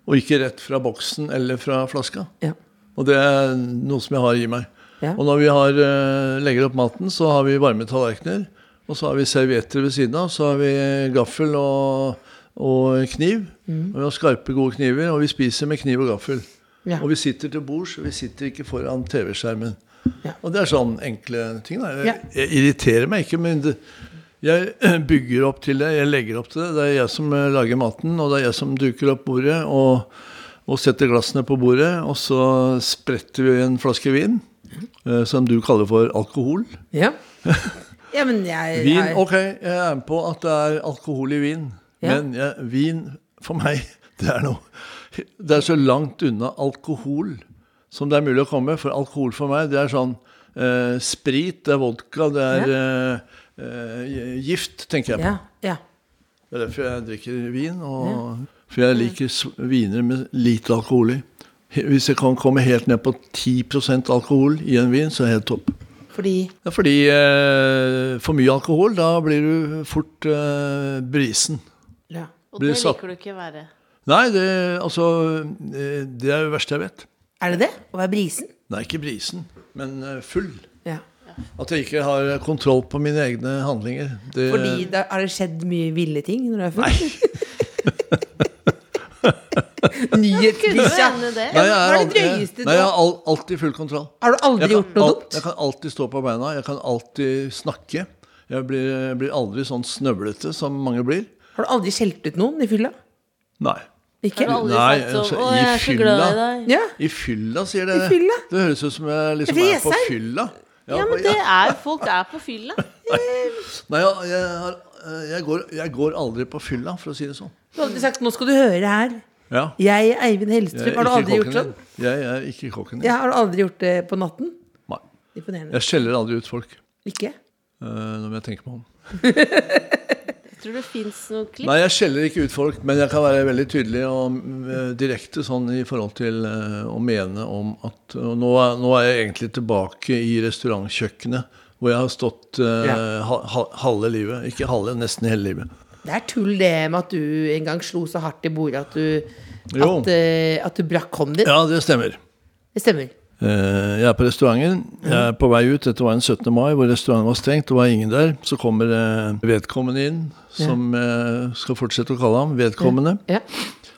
C: og ikke rett fra boksen eller fra flaska.
B: Ja.
C: Og det er noe som jeg har i meg.
B: Ja.
C: Og når vi har, eh, legger opp maten, så har vi varme tallerkener. Og så har vi servietter ved siden av. Så har vi gaffel og, og kniv.
B: Mm.
C: Og vi har skarpe, gode kniver. Og vi spiser med kniv og gaffel.
B: Ja.
C: Og vi sitter til bords, og vi sitter ikke foran TV-skjermen.
B: Ja.
C: Og det er sånn enkle ting. Da. Jeg,
B: Ja.
C: jeg irriterer meg ikke, men det, jeg bygger opp til det. Jeg legger opp til det. Det er jeg som eh, lager maten, og det er jeg som duker opp bordet og, og setter glassene på bordet. Og så spretter vi en flaske vin, eh, som du kaller for alkohol.
B: ja. ja, men jeg
C: Vin,
B: jeg-
C: ok, jeg er med på at det er alkohol i vin,
B: Ja.
C: men jeg, vin for meg, det er noe Det er så langt unna alkohol som det er mulig å komme. For alkohol for meg, det er sånn eh, sprit, det er vodka, det er eh, eh, gift, tenker jeg på.
B: Ja, ja.
C: Det er derfor jeg drikker vin, og, for jeg liker s- viner med lite alkohol i. He- Hvis jeg kan komme helt ned på 10 alkohol i en vin, så er det helt topp.
B: Fordi
C: Det er fordi eh, for mye alkohol, da blir du fort eh, brisen.
B: ja.
D: Og
C: Blir
D: det
C: satt-
D: liker du ikke å være.
C: Nei, det, altså, eh, det er det verste jeg vet.
B: Er det det? Å være brisen?
C: Nei, ikke brisen, men eh, full.
B: Ja.
C: At jeg ikke har kontroll på mine egne handlinger. Det,
B: Fordi da har det skjedd mye ville ting når du er full?
D: Kunne du
B: Nyhetsbikkja.
D: ende det?
C: Nei, jeg
B: Hva
C: er
B: er det
C: aldri-
B: drøyeste du
C: nei, jeg
B: har
C: har al- alltid full kontroll.
B: Har du aldri
C: Jeg kan,
B: gjort noe
C: al-
B: dumt?
C: Jeg kan alltid stå på beina, jeg kan alltid snakke. Jeg blir, jeg blir aldri sånn snøvlete som mange blir.
B: Har du aldri skjelt ut noen i fylla?
C: Nei.
D: Har
B: Ikke?
D: du aldri
C: Nei,
D: sagt sånn
C: altså,
D: 'Å,
C: i
D: jeg er så glad i deg'?
B: Ja.
C: I fylla, sier dere.
B: I fylla?
C: Det høres ut som jeg liksom
B: Eller
C: er på
B: Jessheim?
C: fylla.
D: Ja, men
C: på-
D: det er, folk er på fylla.
C: Nei, jeg, jeg, har, eh, jeg, går, jeg går aldri på fylla, for å si det sånn.
B: Du har aldri sagt 'nå skal du høre her'.
C: Ja.
B: Jeg, Eivind Hellstrøm.
C: Jeg er
B: Har du
C: ikke
B: aldri gjort sånn?
C: kokken din. Jeg er ikke kokken din.
B: Ja, har du aldri gjort det på natten?
C: Nei.
B: Imponerende.
C: Jeg skjeller aldri ut folk.
B: Ikke?
C: eh, når jeg tenker meg om.
D: Jeg tror det fins noen klipp.
C: Nei, jeg skjeller ikke ut folk, men jeg kan være veldig tydelig og mm, direkte sånn i forhold til eh, å mene om at og nå, er, nå er jeg egentlig tilbake i restaurantkjøkkenet, hvor jeg har stått eh,
B: Ja.
C: ha, ha, halve livet. Ikke halve, nesten hele livet.
B: Det er tull det med at du en gang slo så hardt i bordet at du,
C: Jo.
B: at, eh, at du brakk hånden din.
C: Ja, det stemmer.
B: Det stemmer.
C: Eh, Jeg er på restauranten. Jeg
B: Mhm.
C: er på vei ut. Dette var en 17. mai hvor restauranten var stengt. Det var ingen der. Så kommer eh, vedkommende inn, som jeg skal fortsette å kalle ham vedkommende.
B: Ja.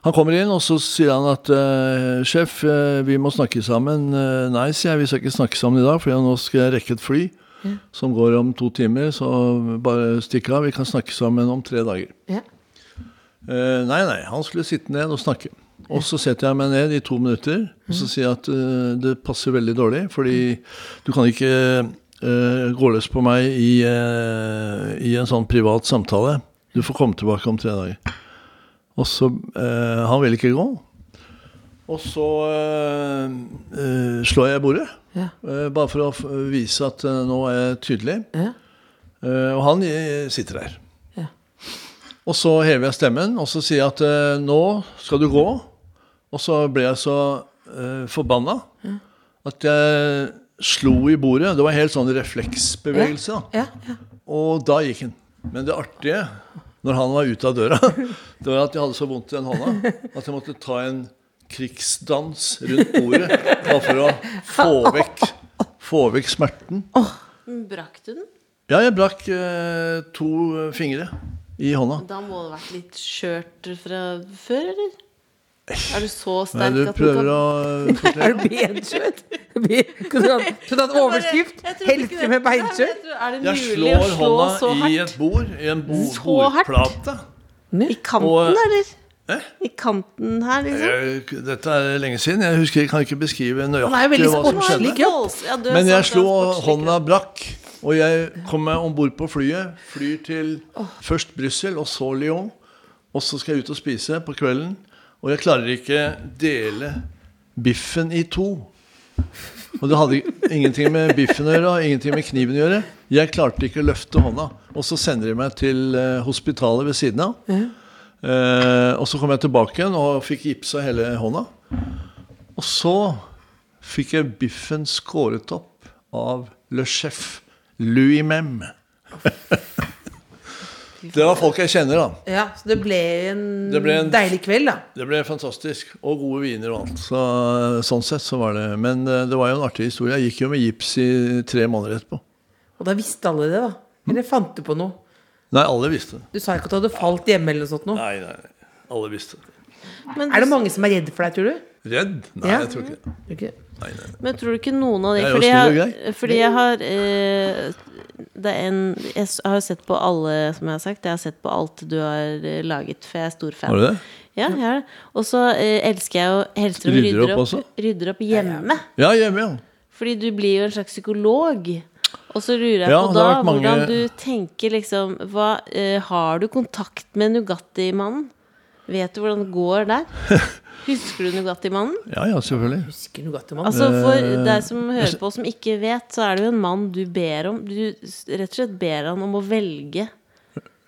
C: Han kommer inn, og så sier han at eh, sjef, eh, vi må snakke sammen. Eh, nei, sier jeg, vi skal ikke snakke sammen i dag, for jeg- nå skal jeg rekke et fly som går om to timer. Så bare stikk av. Vi kan snakke sammen om tre dager.
B: ja.
C: Eh, nei, nei, han skulle sitte ned og snakke. Og så setter jeg meg ned i to minutter og så sier jeg at eh, det passer veldig dårlig, fordi du kan ikke eh, gå løs på meg i, eh, i en sånn privat samtale. Du får komme tilbake om tre dager. Og så eh, Han vil ikke gå. Og så eh, eh, slår jeg i bordet,
B: Ja.
C: eh, bare for å f- vise at eh, nå er jeg tydelig.
B: Ja.
C: Eh, og han eh, sitter der.
B: Ja.
C: Og så hever jeg stemmen, og så sier jeg at eh, nå skal du gå. Og så ble jeg så eh, forbanna at jeg slo i bordet. Det var helt sånn refleksbevegelse. da.
B: Ja, ja.
C: Og da gikk han. Men det artige, når han var ute av døra, det var at jeg hadde så vondt i den hånda at jeg måtte ta en krigsdans rundt bordet bare for å få vekk, få vekk smerten.
D: Brakk du den?
C: Ja, jeg brakk eh, to fingre i hånda.
D: Da må det ha vært litt skjørt fra før, eller? Er du så
C: Nei,
D: sterk
C: du
D: at
C: prøver å fortelle.
B: Er du benskjøt? Skulle du hatt overskrift? Helse med beinskjøt?
D: Er det
C: Jeg
D: mulig å
C: slår
D: slå så
C: hånda i
D: hardt?
C: et bord, i en bo
D: Så hardt?
C: bordplate.
D: I kanten,
C: Og-
D: eller?
C: Hæ?
D: I kanten her, liksom?
C: Jeg, dette er lenge siden. Jeg husker, jeg kan ikke beskrive
B: Han er jo
C: nøyaktig
B: veldig
C: hva som
B: sportslig.
C: skjedde.
B: skjønner.
D: Volds- ja, du er
C: Men jeg
D: sant, du er
C: slo, og
D: sportslig
C: hånda
D: kropp.
C: brakk. Og jeg kom meg om bord på flyet. Flyr til først Brussel og så Lyon. Og så skal jeg ut og spise på kvelden. Og jeg klarer ikke dele biffen i to. Og det hadde ingenting med biffen å gjøre og ingenting med kniven å gjøre. Jeg klarte ikke å løfte hånda. Og så sender de meg til eh, hospitalet ved siden av. Eh, og så kom jeg tilbake igjen og fikk gipsa hele hånda. Og så fikk jeg biffen skåret opp av Le Chef Louis Mem. det var folk jeg kjenner, da.
B: Ja, så det ble en,
C: Det ble en-
B: deilig kveld, da.
C: Det ble fantastisk. Og gode viner og alt. Så, sånn sett så var det. Men eh, det var jo en artig historie. Jeg gikk jo med gips i tre måneder etterpå.
B: Og da visste alle det, da. Eller fant du på noe?
C: Nei, alle visste det.
B: Du sa ikke at du hadde falt hjemme eller noe sånt nå.
C: Nei, nei, nei. Alle visste det.
D: Men,
B: Er det mange som er redd for deg, tror du?
C: Redd? Nei,
B: Ja.
C: jeg tror ikke det.
B: Ikke?
C: Nei, nei, nei.
D: men tror du ikke noen av de
C: Jeg er jo
D: Fordi
C: snill og
D: jeg, fordi jeg har eh, det er en, Jeg s- har jo sett på alle, som jeg har sagt. Jeg har sett på alt du har eh, laget, for jeg er stor fan.
C: Var det det?
D: Ja, jeg har det. Og så eh, elsker jeg jo Hellstrøm
C: Rydder
D: rydder,
C: opp
D: opp,
C: også?
D: rydder opp hjemme.
C: Ja, hjemme, ja.
D: Fordi du blir jo en slags psykolog. Og så lurer jeg
C: Ja,
D: på
C: det
D: da
C: har vært mange-
D: hvordan du tenker liksom hva, eh, Har du kontakt med Nugatti-mannen? Vet du hvordan det går der? Husker du Nugatti-mannen?
C: Ja, ja, selvfølgelig.
B: Husker Nougatimann.
D: Altså For deg som
C: Eh,
D: hører på, som ikke vet, så er det jo en mann du ber om Du s- rett og slett ber han om å velge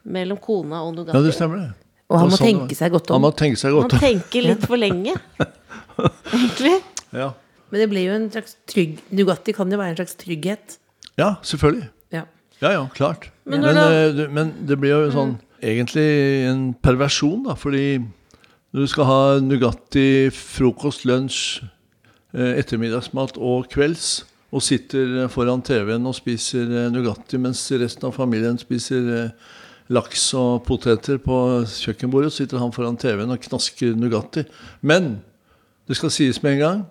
D: mellom kona og
C: Ja, det
D: Nugatti.
C: stemmer det.
B: Og
C: Det var sånn
B: han må
C: det
B: tenke
C: var.
B: seg godt
C: Han
B: om.
C: må tenke seg
D: Han
C: godt om.
D: tenker litt for lenge, egentlig.
C: Ja,
B: Men det ble jo en slags trygg Nugatti kan jo være en slags trygghet.
C: ja selvfølgelig.
B: Ja.
C: Ja, ja, klart. Men,
D: når da- Mm.
C: eh, du- men det blir jo sånn egentlig en perversjon, da. Fordi når du skal ha Nugatti, frokost, lunsj, eh, ettermiddagsmat og kvelds, og sitter foran TV-en og spiser eh, Nugatti mens resten av familien spiser eh, laks og poteter på kjøkkenbordet, så sitter han foran TV-en og knasker Nugatti. Men det skal sies med en gang,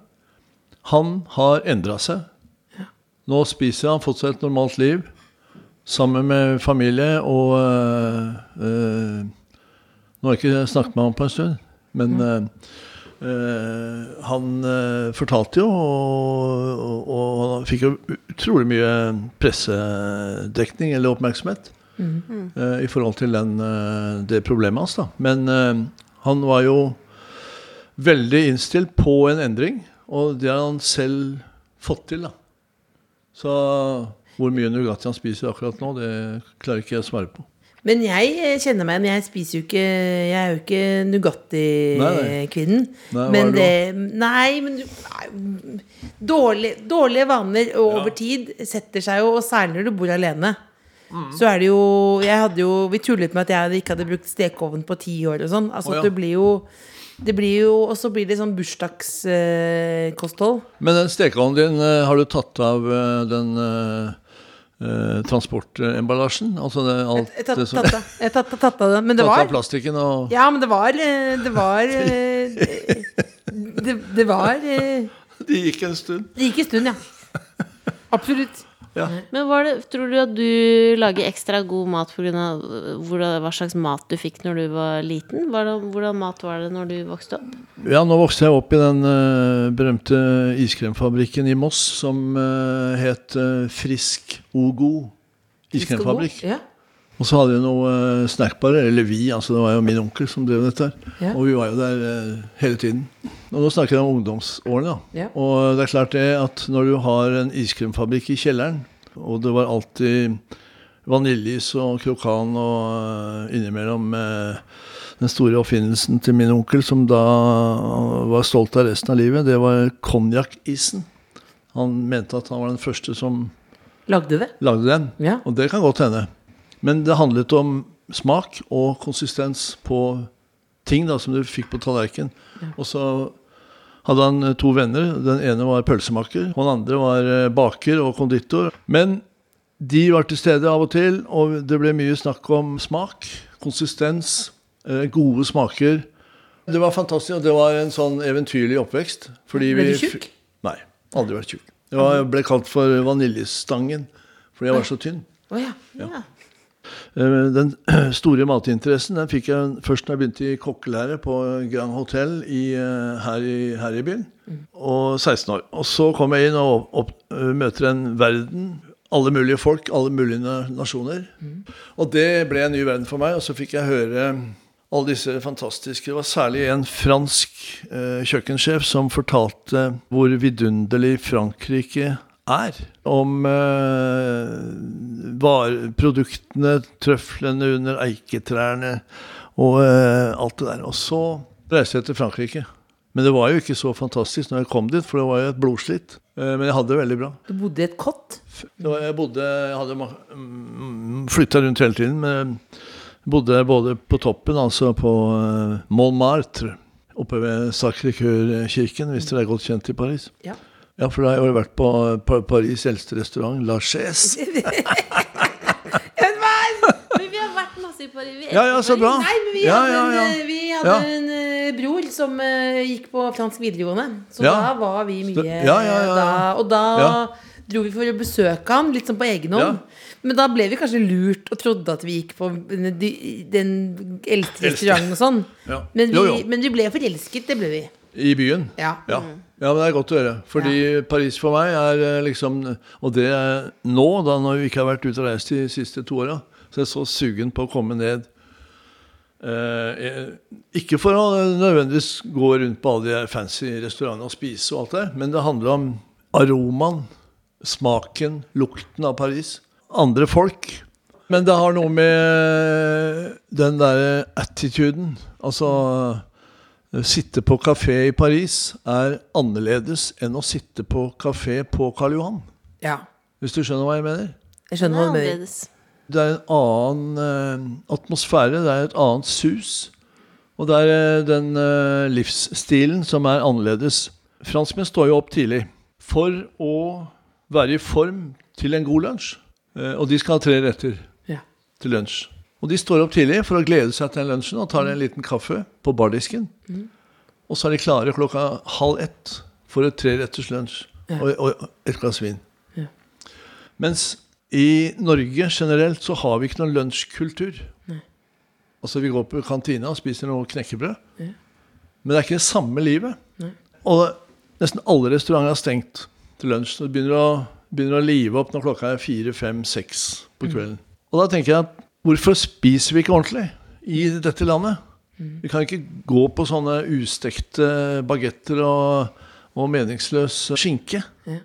C: han har endra seg. Nå spiser han, fått seg et normalt liv sammen med familie og eh, øh, øh, Nå har jeg ikke snakket med ham på en stund, men øh, Eh, han eh, fortalte jo, og, og, og han fikk jo utrolig mye pressedekning eller oppmerksomhet eh, i forhold til den, eh, det problemet hans. da. Men eh, han var jo veldig innstilt på en endring, og det har han selv fått til. da. Så hvor mye Nugatti han spiser akkurat nå, det klarer ikke jeg å svare på.
B: Men jeg eh, kjenner meg igjen. Jeg spiser jo ikke Jeg er jo ikke
C: Nei,
B: Nugatti-kvinnen.
C: Nei, hva er
B: Men
C: du
B: det Nei, men du nei, mm, dårlig, Dårlige vaner og over tid setter seg jo, og særlig når du bor alene. Så er det jo Jeg hadde jo Vi tullet med at jeg ikke hadde brukt stekeovn på ti år og sånn. Altså
C: Å, ja.
B: at du blir jo det blir jo, Og så blir det sånn bursdagskosthold. Eh, kosthold.
C: Men den stekeovnen din, eh, har du tatt av eh, den eh, eh, transportemballasjen? Altså det, alt
B: jeg tatt,
C: det som
B: tatt, av- jeg tatt, tatt, tatt av det. Men det
C: Tatt av
B: var
C: plastikken og
B: Ja, men det var eh, Det var eh, Det, det var eh,
C: Det gikk en stund.
B: Det gikk en stund, ja. Absolutt.
D: Men var det, tror du at du lager ekstra god mat pga. øh, hva slags mat du fikk når du var liten? Var det, hvordan mat var det når du vokste opp?
C: Ja, nå vokste jeg opp i den eh, berømte iskremfabrikken i Moss som eh, het eh, Frisk og God iskremfabrikk.
B: Ja.
C: Og så hadde vi noe eh, snackbarer, eller vi, altså det var jo min onkel som drev dette her.
B: Ja.
C: Og vi var jo der eh, hele tiden. Og nå snakker jeg om ungdomsårene, da.
B: Ja.
C: Og det er klart det at når du har en iskremfabrikk i kjelleren, og det var alltid vaniljeis og krokan og eh, innimellom eh, den store oppfinnelsen til min onkel, som da var stolt av resten av livet, det var konjakkisen. Han mente at han var den første som
B: Lagde det?
C: lagde den.
B: Ja.
C: Og det kan godt hende. Men det handlet om smak og konsistens på ting da, som du fikk på tallerkenen. Og så hadde han eh, to venner. Den ene var pølsemaker, og den andre var eh, baker og konditor. Men de var til stede av og til, og det ble mye snakk om smak, konsistens, eh, gode smaker. Det var fantastisk, og det var en sånn eventyrlig oppvekst. Fordi
B: Ble du
C: vi f-
B: tjukk?
C: Nei. Aldri vært tjukk. Jeg var- ble kalt for vaniljestangen fordi jeg var så tynn.
B: Å ja.
C: Eh, Den store matinteressen den fikk jeg først da jeg begynte i kokkelære på Grand Hotel i, eh, her, i, her i byen. Og 16 år. Og så kom jeg inn og opp, eh, møter en verden. Alle mulige folk, alle mulige na- nasjoner. Og det ble en ny verden for meg. Og så fikk jeg høre alle disse fantastiske Det var særlig en fransk eh, kjøkkensjef som fortalte hvor vidunderlig Frankrike er. Om eh, var, produktene, trøflene under eiketrærne og eh, alt det der. Og så reiste jeg til Frankrike. Men det var jo ikke så fantastisk når jeg kom dit, for det var jo et blodslitt. Eh, men jeg hadde det veldig bra.
B: Du bodde i et kott?
C: Det var, jeg bodde, jeg hadde flytta rundt hele tiden, men jeg bodde både på toppen, altså på eh, Montmartre, oppe ved Sacré-Cœur-kirken, hvis dere er godt kjent i Paris.
B: Ja.
C: Ja, for da har jeg jo vært på Pa- Paris' eldste restaurant, La Chaise.
D: Men vi har vært masse i Paris. Vi
C: Ja, ja, så bra.
B: Nei, men vi
C: Ja,
B: hadde,
C: ja, ja.
B: En, eh, vi hadde
C: Ja.
B: en eh, bror som eh, gikk på fransk videregående. Så
C: Ja.
B: da var vi mye
C: Så- ja, ja, ja, ja.
B: Da, Og da
C: Ja.
B: dro vi for å besøke han, litt sånn på egen hånd. Men da ble vi kanskje lurt og trodde at vi gikk på den- den eldste restauranten og sånn.
C: Ja.
B: Men, vi,
C: Jo, jo.
B: men vi ble forelsket, det ble vi.
C: I byen?
B: Ja.
C: Ja. ja, men det er godt å høre. Fordi Paris for meg er eh, liksom Og det er nå, da når vi ikke har vært ute og reist de siste to åra, så er jeg så sugen på å komme ned. Eh, jeg- ikke for å nødvendigvis gå rundt på alle de fancy restaurantene og spise og alt det, men det handler om aromaen, smaken, lukten av Paris. Andre folk. Men det har noe med den derre attituden. Altså Sitte på kafé i Paris er annerledes enn å sitte på kafé på Karl Johan.
B: ja.
C: Hvis du skjønner hva jeg mener?
B: Jeg skjønner hva du mener.
C: Det er en annen eh, atmosfære, det er et annet sus. Og det er eh, den eh, livsstilen som er annerledes. Franskmenn står jo opp tidlig for å være i form til en god lunsj. Eh, og de skal ha tre retter
B: Ja.
C: til lunsj. Og de står opp tidlig for å glede seg til den lunsjen og tar en liten kaffe på bardisken. Og så er de klare klokka halv ett for et treretters lunsj
B: Ja.
C: og, og et glass vin. Mens i Norge generelt så har vi ikke noen lunsjkultur. Altså Vi går på kantina og spiser noe knekkebrød. Men det er ikke det samme livet. Og nesten alle restauranter er stengt til lunsj. Så det begynner å, begynner å live opp når klokka er fire, fem, seks
B: Mm.
C: på kvelden. Og da tenker jeg at hvorfor spiser vi ikke ordentlig i dette landet?
B: Mm.
C: Vi kan ikke gå på sånne ustekte bagetter og, og meningsløs skinke. Og eh,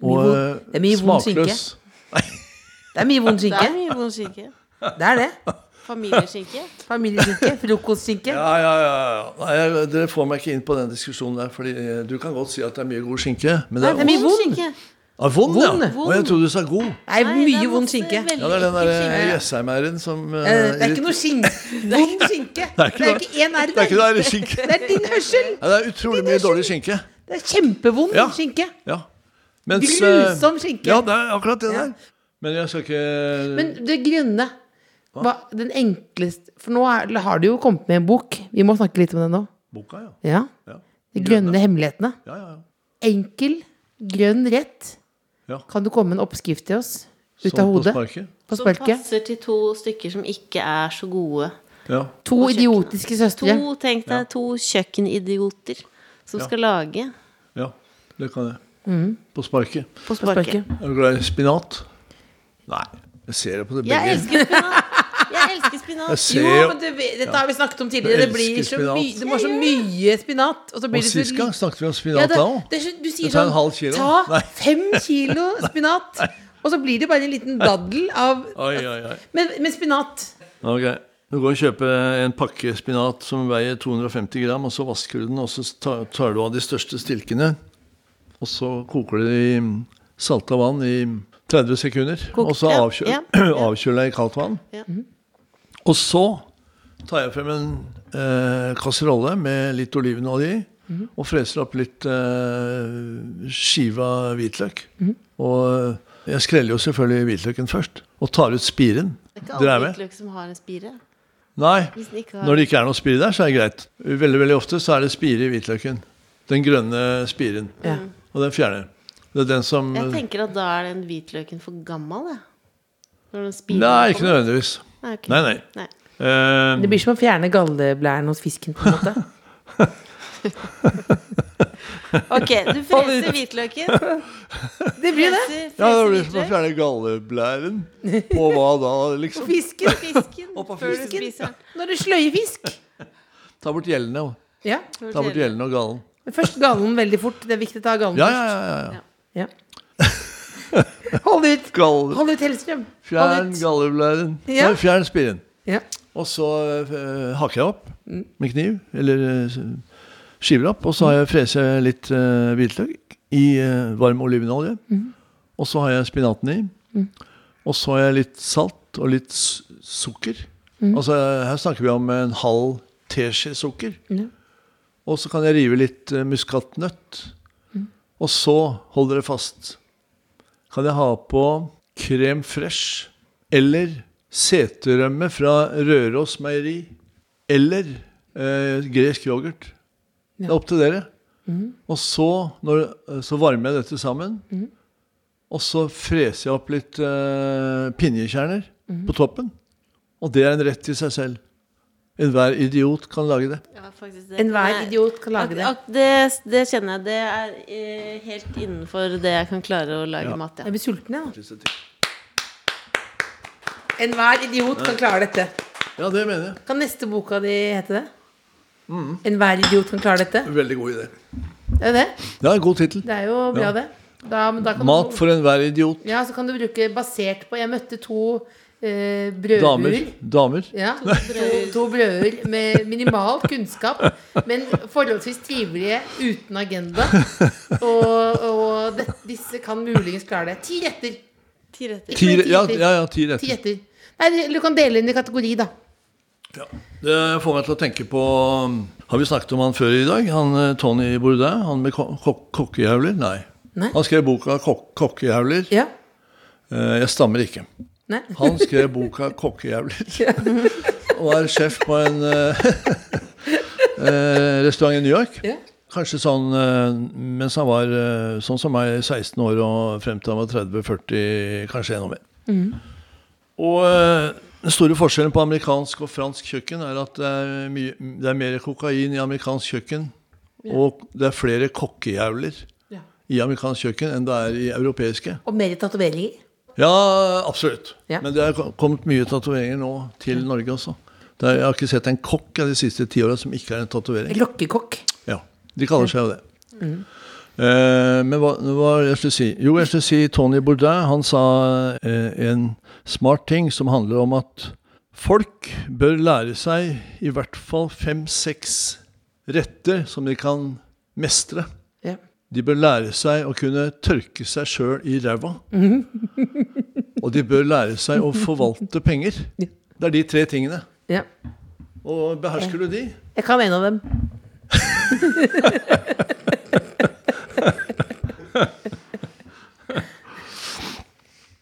B: vond- det er mye vond
C: smakløs.
B: skinke. Det er mye vond
D: Det er
B: skinke.
D: mye vond skinke.
B: Det er det.
D: Familieskinke.
B: Familieskinke. Frokostskinke.
C: Ja, ja, ja. ja. Nei, jeg, dere får meg ikke inn på den diskusjonen der. Fordi eh, du kan godt si at det er mye god skinke. Men det
B: Nei,
C: er
B: det er mye vond.
D: skinke.
C: Ah, vond, ja.
B: Vond.
C: Og jeg trodde du sa god.
B: Det er
D: Nei, det
B: mye
D: er
B: vond
D: masse
B: skinke.
D: veldig
C: Ja, det er den
D: ekkel
C: der eh,
D: skinke.
C: Jessheim-æren som eh,
B: Eh, Det er ikke
C: irrit-
B: noe skinke. Vond skinke. Det
C: ikke
B: er
C: noe-
B: ikke én R
C: det er ikke
B: der.
C: noe skinke.
B: Det er din hørsel.
C: Nei, det er utrolig mye dårlig skinke.
B: Det er kjempevond
C: Ja.
B: skinke.
C: Ja. Mens, eh,
B: Grusom skinke.
C: Ja, det er akkurat det
B: Ja.
C: der. Men jeg skal ikke
B: Men det grønne hva, Den enkleste For nå er, har du jo kommet med en bok. Vi må snakke litt om den nå.
C: Boka, ja.
B: Ja.
C: Ja,
B: De grønne hemmelighetene.
C: ja. ja, ja.
B: Enkel, grønn rett.
C: Ja.
B: Kan du komme med en oppskrift til oss? Ut
C: Sånn
B: av
C: på
B: hodet?
C: sparket.
B: På
D: Som
B: sparket?
D: passer til to stykker som ikke er så gode.
C: Ja.
B: To
D: kjøkkenet.
B: idiotiske
D: To,
B: søstre.
D: tenk deg, to kjøkkenidioter som skal lage
C: ja. Det kan jeg.
B: Mm.
C: På sparket.
D: på
B: På
D: sparket.
B: sparket.
C: Er du glad i spinat? Nei. Jeg ser det på det
D: Jeg
C: begge.
D: elsker spinat! Jeg elsker spinat.
C: Jeg
B: Jo,
C: ser
B: men det, dette har vi snakket om tidligere.
C: Jeg
B: Det blir
C: elsker
B: så
C: spinat.
B: mye, det må så mye spinat. Og, så blir
C: Og
B: det så
C: sist gang
B: lite-
C: snakket vi om
B: Ja,
C: spinat
B: det,
C: da òg.
B: det, er så- du sier
C: tar en
B: sånn,
C: halv kilo.
B: Ta
C: Nei.
B: fem kilo spinat, og så blir det bare en liten daddel av
C: Oi, oi, oi.
B: Men, men spinat
C: Ok. Du går og kjøper en pakke spinat som veier 250 gram, og så vasker du den, og så ta- tar du av de største stilkene. Og så koker du det i salta vann i 30 sekunder. og så
D: ja,
C: avkjø
D: ja,
C: avkjøler jeg i kaldt vann.
D: Ja.
C: Og så tar jeg frem en eh, kasserolle med litt olivenolje i, og freser opp litt eh, skiva hvitløk. Og jeg skreller jo selvfølgelig hvitløken først, og tar ut spiren.
D: Det er ikke
C: Dere er
D: alle
C: med?
D: hvitløk som har en spire.
C: Nei.
D: Hvis den ikke har
C: Når det ikke er noe spire der, så er det greit. Veldig veldig ofte så er det spire i hvitløken. Den grønne spiren.
B: Ja.
C: Og den fjerner. Det er den som
D: Jeg tenker at da er den hvitløken for gammel, jeg. Når den spirer.
C: Nei, ikke nødvendigvis.
D: Nei, ok.
C: Nei, nei.
D: Nei.
C: Eh,
B: Det blir som å fjerne galleblæren hos fisken. på en måte
D: Ok, du freser hvitløken.
B: Det blir det.
C: ja, det
D: Freser, freser
C: blir som å
D: hvitløk.
C: fjerne galleblæren. På hva da, liksom?
B: Fisken.
D: Fisken.
C: Opp av
D: Før du
C: fisken.
D: spiser den.
B: Når du sløyer fisk.
C: Ta bort gjellene. og-
B: Ja.
C: Ta bort gjellene og gallen.
B: Men først gallen veldig fort. Det er viktig å ta gallen
C: Ja, ja, ja. ja.
B: Ja. Hold ut.
C: Gall,
B: Hold ut, Hellstrøm. Hold
C: fjern
B: ut.
C: galleblæren.
B: Ja.
C: Nei, fjern spiren.
B: Ja.
C: Og så eh, hakker jeg opp med kniv, eller eh, skiver opp. Og så har jeg frese litt eh, hvitløk i eh, varm olivenolje. Og så har jeg spinaten i. Og så har jeg litt salt og litt s- sukker. Altså her snakker vi om en halv teskje sukker. Og så kan jeg rive litt eh, muskatnøtt. Og så, hold dere fast, kan jeg ha på krem fresh eller seterømme fra Røros meieri eller eh, gresk yoghurt. Det er opp til dere. Og så, når, eh, så varmer jeg dette sammen. Og så freser jeg opp litt eh, pinjekjerner på toppen. Og det er en rett i seg selv. Enhver idiot kan lage det.
D: Ja, faktisk det.
B: Enhver
D: Nei.
B: idiot kan lage det.
D: Ak- ak- det. Det kjenner jeg. Det er eh, helt innenfor det jeg kan klare å lage mat
B: Jeg
D: til.
B: blir sulten, jeg. da. Enhver idiot kan klare dette.
C: Ja, det mener jeg.
B: Kan neste boka di hete det?
C: Mm.
B: Enhver idiot kan klare dette?
C: Veldig god idé.
B: Det er det.
C: Det er en god tittel.
B: Det er jo bra, det. Da, men da kan
C: Mat
B: du,
C: for enhver idiot.
B: Ja, så kan du bruke basert på Jeg møtte to eh, brødhuer.
C: Damer. Damer.
B: Ja, to, to brødre med minimal kunnskap, men forholdsvis trivelige uten agenda. Og, og det, disse kan muligens klare det. Ti retter.
D: Ti retter.
C: Ti,
B: Men ti
C: ja,
B: retter.
C: ja, ja, ti
B: Ti
C: retter.
B: retter. Nei, du kan dele inn i kategori, da.
C: Ja. Det får meg til å tenke på um, Har vi snakket om han før i dag? Han eh, Tony Bourdain? Han med ko- ko- kokkejævler? Nei.
B: Nei.
C: Han skrev boka kok 'Kokkejævler'.
B: Ja.
C: Eh, Jeg stammer ikke.
B: Nei.
C: Han skrev boka 'Kokkejævler'. Og var sjef på en eh, eh, restaurant i New York.
B: Ja.
C: Kanskje sånn eh, mens han var eh, sånn som meg, 16
B: Mm.
C: år og frem til han var 30-40, kanskje enda mer. Og eh, Den store forskjellen på amerikansk og fransk kjøkken er at det er, mye, det er mer kokain i amerikansk kjøkken, og det er flere kokkejævler
B: Ja.
C: i amerikansk kjøkken enn det er i europeiske.
B: Og mer tatoveringer.
C: Ja, absolutt.
B: Ja.
C: Men det er kom- kommet mye tatoveringer nå til Norge også. Det er, jeg har ikke sett en kokk av de siste ti åra som ikke er en tatovering.
B: Lokkekokk.
C: Ja, de kaller seg jo det. Eh, men hva, hva var det jeg skulle si? Jo, jeg skulle si Tony Bourdain. Han sa eh, en smart ting som handler om at folk bør lære seg i hvert fall fem-seks retter som de kan mestre.
B: Ja.
C: De bør lære seg å kunne tørke seg sjøl i ræva.
B: Mhm.
C: Og de bør lære seg å forvalte penger. Det er de tre tingene.
B: ja.
C: Og behersker du de?
B: Jeg kan en av dem.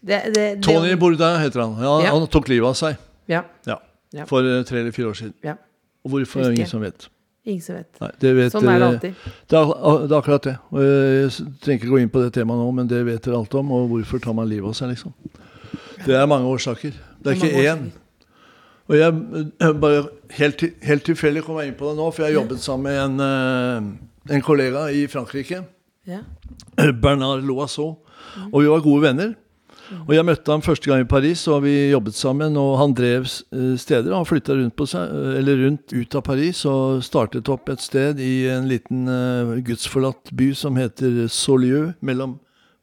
B: det, det, det,
C: Tony Bourdain heter han. Ja,
B: Ja.
C: Han tok livet av seg.
B: Ja.
C: Ja.
B: Ja.
C: For eh, tre eller fire år siden.
B: ja.
C: Og hvorfor
B: Husker
C: er det
B: jeg.
C: ingen som vet?
B: Ingen som vet.
C: Nei, det vet eh,
B: Sånn er det
C: dere-
B: alltid.
C: Det er, ak- det er akkurat det. Og jeg s- trenger ikke gå inn på det temaet nå, men det vet dere alt om. Og hvorfor tar man livet av seg, liksom? Det er mange årsaker. Det er
B: Det er
C: ikke
B: mange
C: én. Og jeg eh, bare helt, til- helt tilfeldig kom jeg inn på det nå, for jeg jobbet sammen med en, eh, en kollega i Frankrike.
B: Ja.
C: Bernard Loiseau. Og vi var gode venner. Og jeg møtte ham første gang i Paris, og vi jobbet sammen. Og han drev eh, steder. og Han flytta rundt, på seg, eh, eller rundt ut av Paris og startet opp et sted i en liten eh, gudsforlatt by som heter Saulieu, mellom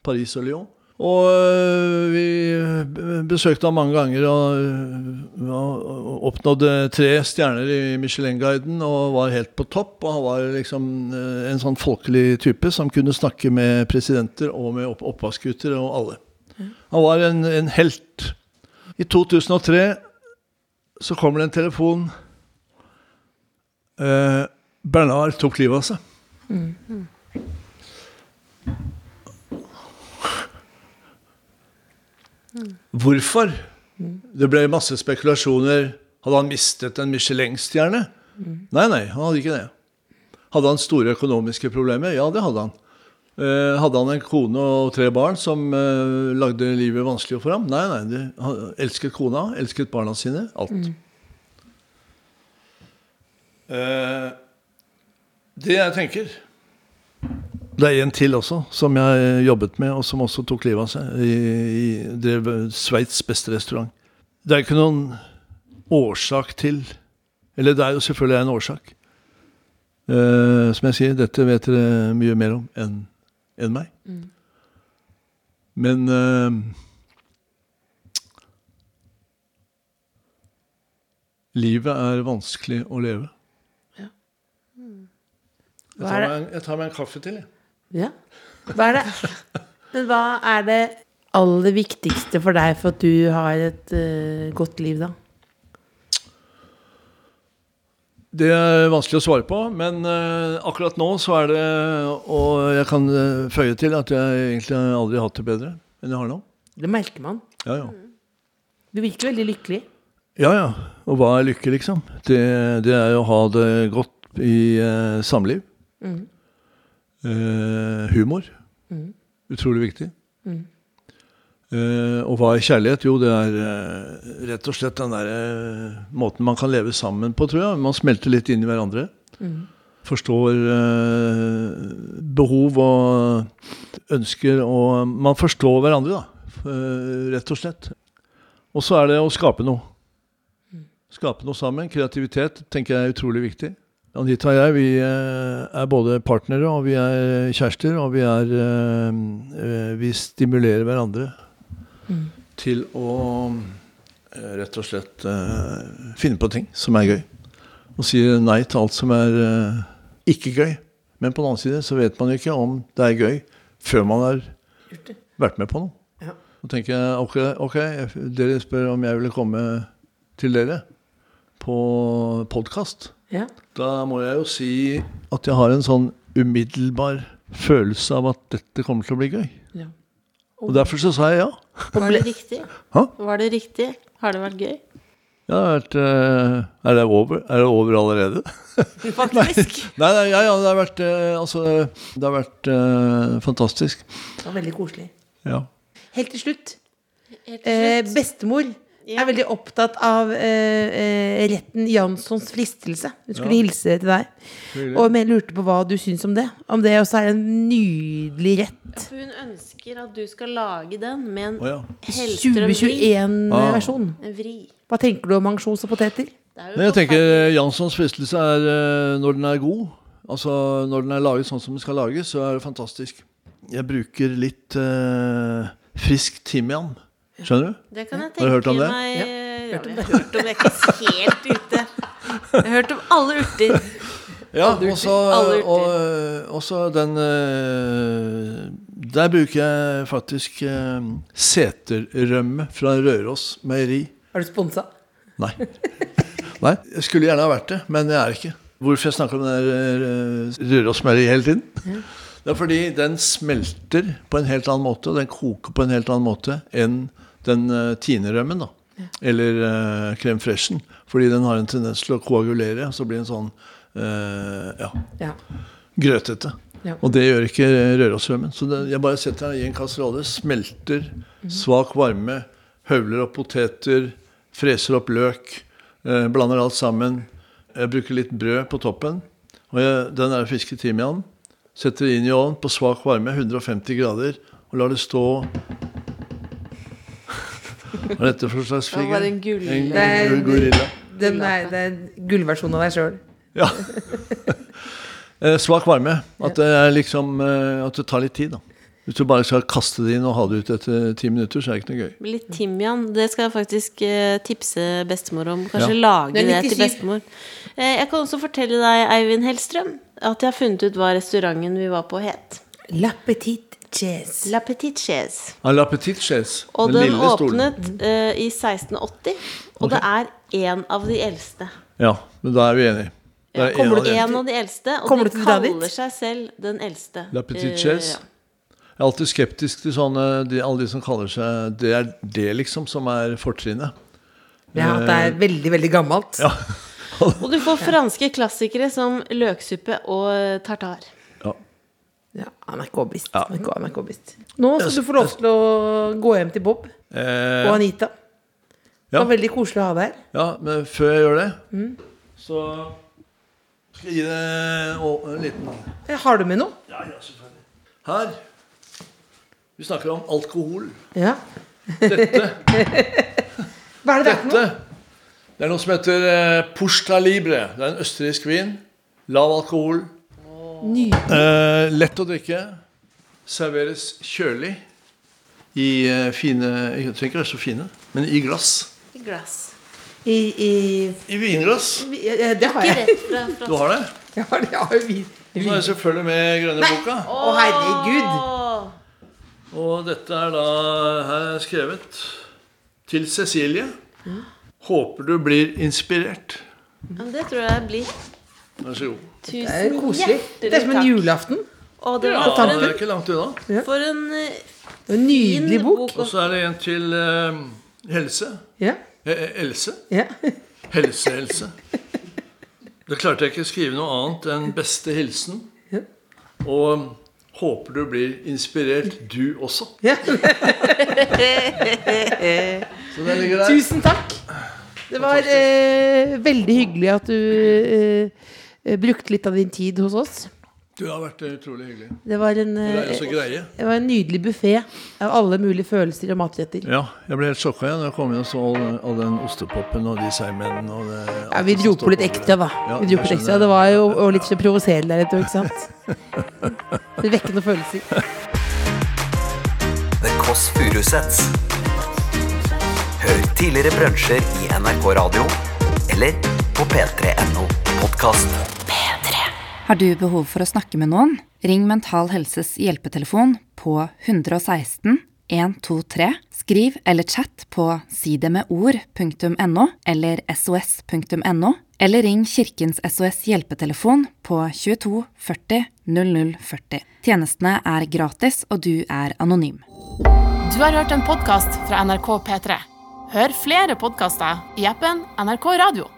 C: Paris og Lyon. Og eh, vi eh, besøkte ham mange ganger og, eh, og og oppnådde tre stjerner i Michelin-guiden og var helt på topp. Og han var liksom eh, en sånn folkelig type som kunne snakke med presidenter og med opp oppvaskgutter og alle. Han var en, en helt. I 2003 så kommer det en telefon. Eh, Bernard tok livet av seg. Hvorfor? Det ble masse spekulasjoner. Hadde han mistet en Michelin-stjerne? Nei, nei, han hadde ikke det. Hadde han store økonomiske problemer? Ja, det hadde han. Eh, hadde han en kone og tre barn som eh, lagde livet vanskelig for ham? Nei, nei. Det, han elsket kona, elsket barna sine. Alt. Eh, det jeg tenker Det er en til også, som jeg jobbet med, og som også tok livet av seg. I, i, drev Sveits beste restaurant. Det er ikke noen årsak til Eller det er jo selvfølgelig en årsak. Eh, som jeg sier, dette vet dere mye mer om enn enn meg.
B: Mm.
C: Men eh, Livet er vanskelig å leve. Jeg
B: Mm. Hva
C: tar,
B: er
C: meg
B: det?
C: en, jeg tar meg en kaffe til, jeg.
B: Ja. Hva er det? Men hva er det aller viktigste for deg for at du har et eh, godt liv, da?
C: Det er vanskelig å svare på, men eh, akkurat nå så er det Og jeg kan eh, føye til at jeg egentlig aldri har hatt det bedre enn jeg har nå.
B: Det merker man.
C: Ja, ja.
B: Du virker veldig lykkelig.
C: Ja, ja. Og hva er lykke, liksom? Det, det er jo å ha det godt i eh, samliv. Eh, humor. Utrolig viktig. Eh, og hva er kjærlighet? Jo, det er eh, rett og slett den der eh, måten man kan leve sammen på, tror jeg. Man smelter litt inn i hverandre. Forstår eh, behov og ønsker og Man forstår hverandre, da. Eh, rett og slett. Og så er det å skape noe. Skape noe sammen. Kreativitet tenker jeg er utrolig viktig. Anita og jeg vi eh, er både partnere og vi er eh, kjærester, og vi, er, eh, eh, vi stimulerer hverandre til å eh, rett og slett eh, finne på ting som er gøy. Og sier nei til alt som er eh, ikke gøy. Men på den annen side så vet man jo ikke om det er gøy før man har vært med på noe. Så tenker jeg ok, ok, jeg- dere spør om jeg ville komme til dere på podkast.
B: Ja.
C: Da må jeg jo si at jeg har en sånn umiddelbar følelse av at dette kommer til å bli gøy.
B: ja.
C: Og derfor så sa jeg ja.
D: Var det riktig?
C: Hæ?
D: Var det riktig? Har det vært gøy?
C: Jeg har vært, eh, er, det over? er det over allerede?
D: Faktisk.
C: Nei, nei ja, ja, det har vært, eh, altså, det har vært eh, fantastisk.
B: Det var veldig koselig.
C: Ja.
B: Helt til slutt.
D: Helt til
B: Eh,
D: slutt.
B: bestemor
D: Ja.
B: er veldig opptatt av eh, eh, retten Janssons fristelse. Hun skulle
C: Ja.
B: hilse til deg.
C: Hyggelig.
B: Og jeg lurte på hva du syns om det. Om det også er en nydelig rett.
D: Hun ønsker at du skal lage den med en
C: Å ja.
D: helstrøm vri.
C: Ah.
B: 2021-versjon.
D: En vri.
B: Hva tenker du om ansjos og poteter?
D: Det er jo
C: Nei, jeg tenker
D: forferdelig.
C: eh, Janssons fristelse er eh, når den er god. Altså når den er laget sånn som den skal lages, så er det fantastisk. Jeg bruker litt eh, frisk timian. Skjønner du?
D: Det kan jeg
C: Har du hørt
D: tenke
C: om det?
D: meg eh, ja. jeg har hørt om det. Jeg er ikke helt ute. Jeg har hørt om alle urter.
C: Ja, og så
D: Alle urter.
C: og, eh, også den eh, Der bruker jeg faktisk eh, seterrømme fra Røros meieri.
B: Er du sponsa?
C: Nei. Nei. Jeg skulle gjerne ha vært det, men jeg er ikke. Hvorfor jeg snakker om den der eh, Rørosmeieriet hele tiden? Det er fordi den smelter på en helt annen måte, og den koker på en helt annen måte enn den eh, tinerømmen, da. Eller eh, crème freshen. Fordi den har en tendens til å koagulere, og så blir den sånn eh, ja,
B: Ja.
C: grøtete.
B: Ja.
C: Og det gjør ikke Rørosrømmen. Så det, jeg bare setter den i en kasserolle, smelter,
D: Mhm.
C: svak varme, høvler opp poteter, freser opp løk, eh, blander alt sammen. Jeg bruker litt brød på toppen, og jeg, den er fisket timian. Setter det inn i ovnen på svak varme, 150 grader, og lar det stå Hva er dette for slags
D: var
C: figur?
D: det en gull-
C: en gorilla.
B: Den er, det er gullversjonen av deg sjøl.
C: Ja. Eh, Svak varme. At det, er liksom, eh, at det tar litt tid, da. Hvis du bare skal kaste det inn og ha det ut etter ti minutter, så er det ikke noe gøy.
D: Med Litt timian. Det skal jeg faktisk eh, tipse bestemor om. Kanskje
C: Ja.
D: lage
B: Det er
D: det til
B: 97.
D: bestemor. Eh, Jeg kan også fortelle deg, Eivind Hellstrøm, at jeg har funnet ut hva restauranten vi var på, het.
B: La petite chaise.
D: La Petite Chaise.
C: Ah, La petite chaise.
D: Og
C: den
D: den,
C: lille stolen.
D: åpnet eh, i 1680. Og det er en av de eldste.
C: Ja, men da er vi enige. Det er en
D: Kommer
C: av
D: du
C: de-
D: en av de eldste, og
B: Kommer
D: de
B: du til å dra dit?
D: kaller seg selv den eldste.
C: La petite
D: Eh,
C: chaise. Jeg er alltid skeptisk til sånne, de, alle de som kaller seg Det er det, liksom, som er fortrinnet.
B: Ja, det er veldig, veldig gammelt.
C: Eh, Ja.
D: Og du får franske klassikere som løksuppe og eh, tartar.
C: Ja.
B: Ja, han er ikke overbevist. Han er ikke- han er ikke overbevist. Nå skal du få lov til å gå hjem til Bob og
C: Eh,
B: Anita. Det
C: ja.
B: var veldig koselig å ha deg her.
C: ja, men før jeg gjør det,
D: Mm.
C: så skal jeg gi deg å- en liten
B: Eh, Har du med noe?
C: Ja, ja, selvfølgelig. Her Vi snakker om alkohol.
B: Ja. Dette. Hva er det det er for
C: Dette
B: noe?
C: det er noe som heter eh, Pushta Libre. Det er en østerriksk vin. Lav alkohol.
B: Ny.
C: Eh, lett å drikke. Serveres kjølig. I eh, fine Jeg trenger ikke være så fine, men i glass.
D: I glass.
B: I, i,
C: I vinglass.
B: vi- eh, det har jeg.
D: Rett fra, fra.
C: Du har det?
B: Jeg har, jeg har jo vi.
C: Og så er det selvfølgelig med grønne boka.
B: Å, herregud.
D: Åh,
C: Og dette er da her er skrevet til Cecilie.
B: Mm.
C: Håper du blir inspirert.
D: men det tror jeg blir
C: Vær så god.
B: Det er
D: tusen
B: koselig. Det er som en julaften.
D: Å, det
C: Ja, det
D: var for
B: eh,
C: er ikke langt unna.
D: en, for en eh,
B: Det er En nydelig
D: fin
B: bok.
D: bok.
C: Og så er det en til eh, helse.
B: Ja.
C: Eh, eh, Else.
B: ja.
C: Helse-Else. Da klarte jeg ikke å skrive noe annet enn 'beste hilsen'.
B: Ja.
C: Og ehm, håper du blir inspirert, du også.
B: ja.
C: Så den ligger der.
B: Tusen takk. Det var eh, veldig hyggelig at du eh, eh, brukte litt av din tid hos oss.
C: Du har vært utrolig hyggelig.
B: Det var en,
C: Det er
B: eh,
C: jo så greie.
B: det var en nydelig buffé av alle mulige følelser og matretter.
C: Ja, jeg ble helt sjokka igjen da jeg kom inn og så all, all den ostepopen og de seigmennene og det
B: Ja, vi dro på litt ekstra, da.
C: Ja,
B: Vi dro på
C: jeg
B: litt ekstra.
C: skjønner.
B: Det var jo og litt for å provosere deg litt òg, ikke sant? Det vekker noen følelser.
E: The Kåss Furuseths. Hør tidligere brunsjer i NRK Radio eller på p3.no podkast.
G: Har du behov for å snakke med noen? Ring Mental Helses hjelpetelefon på 116 123. Skriv eller chat på sidemedord.no eller sos.no, eller ring Kirkens SOS hjelpetelefon på 22 40 0040. Tjenestene er gratis, og du er anonym.
A: Du har hørt en podkast fra NRK P3. Hør flere podkaster i appen NRK Radio.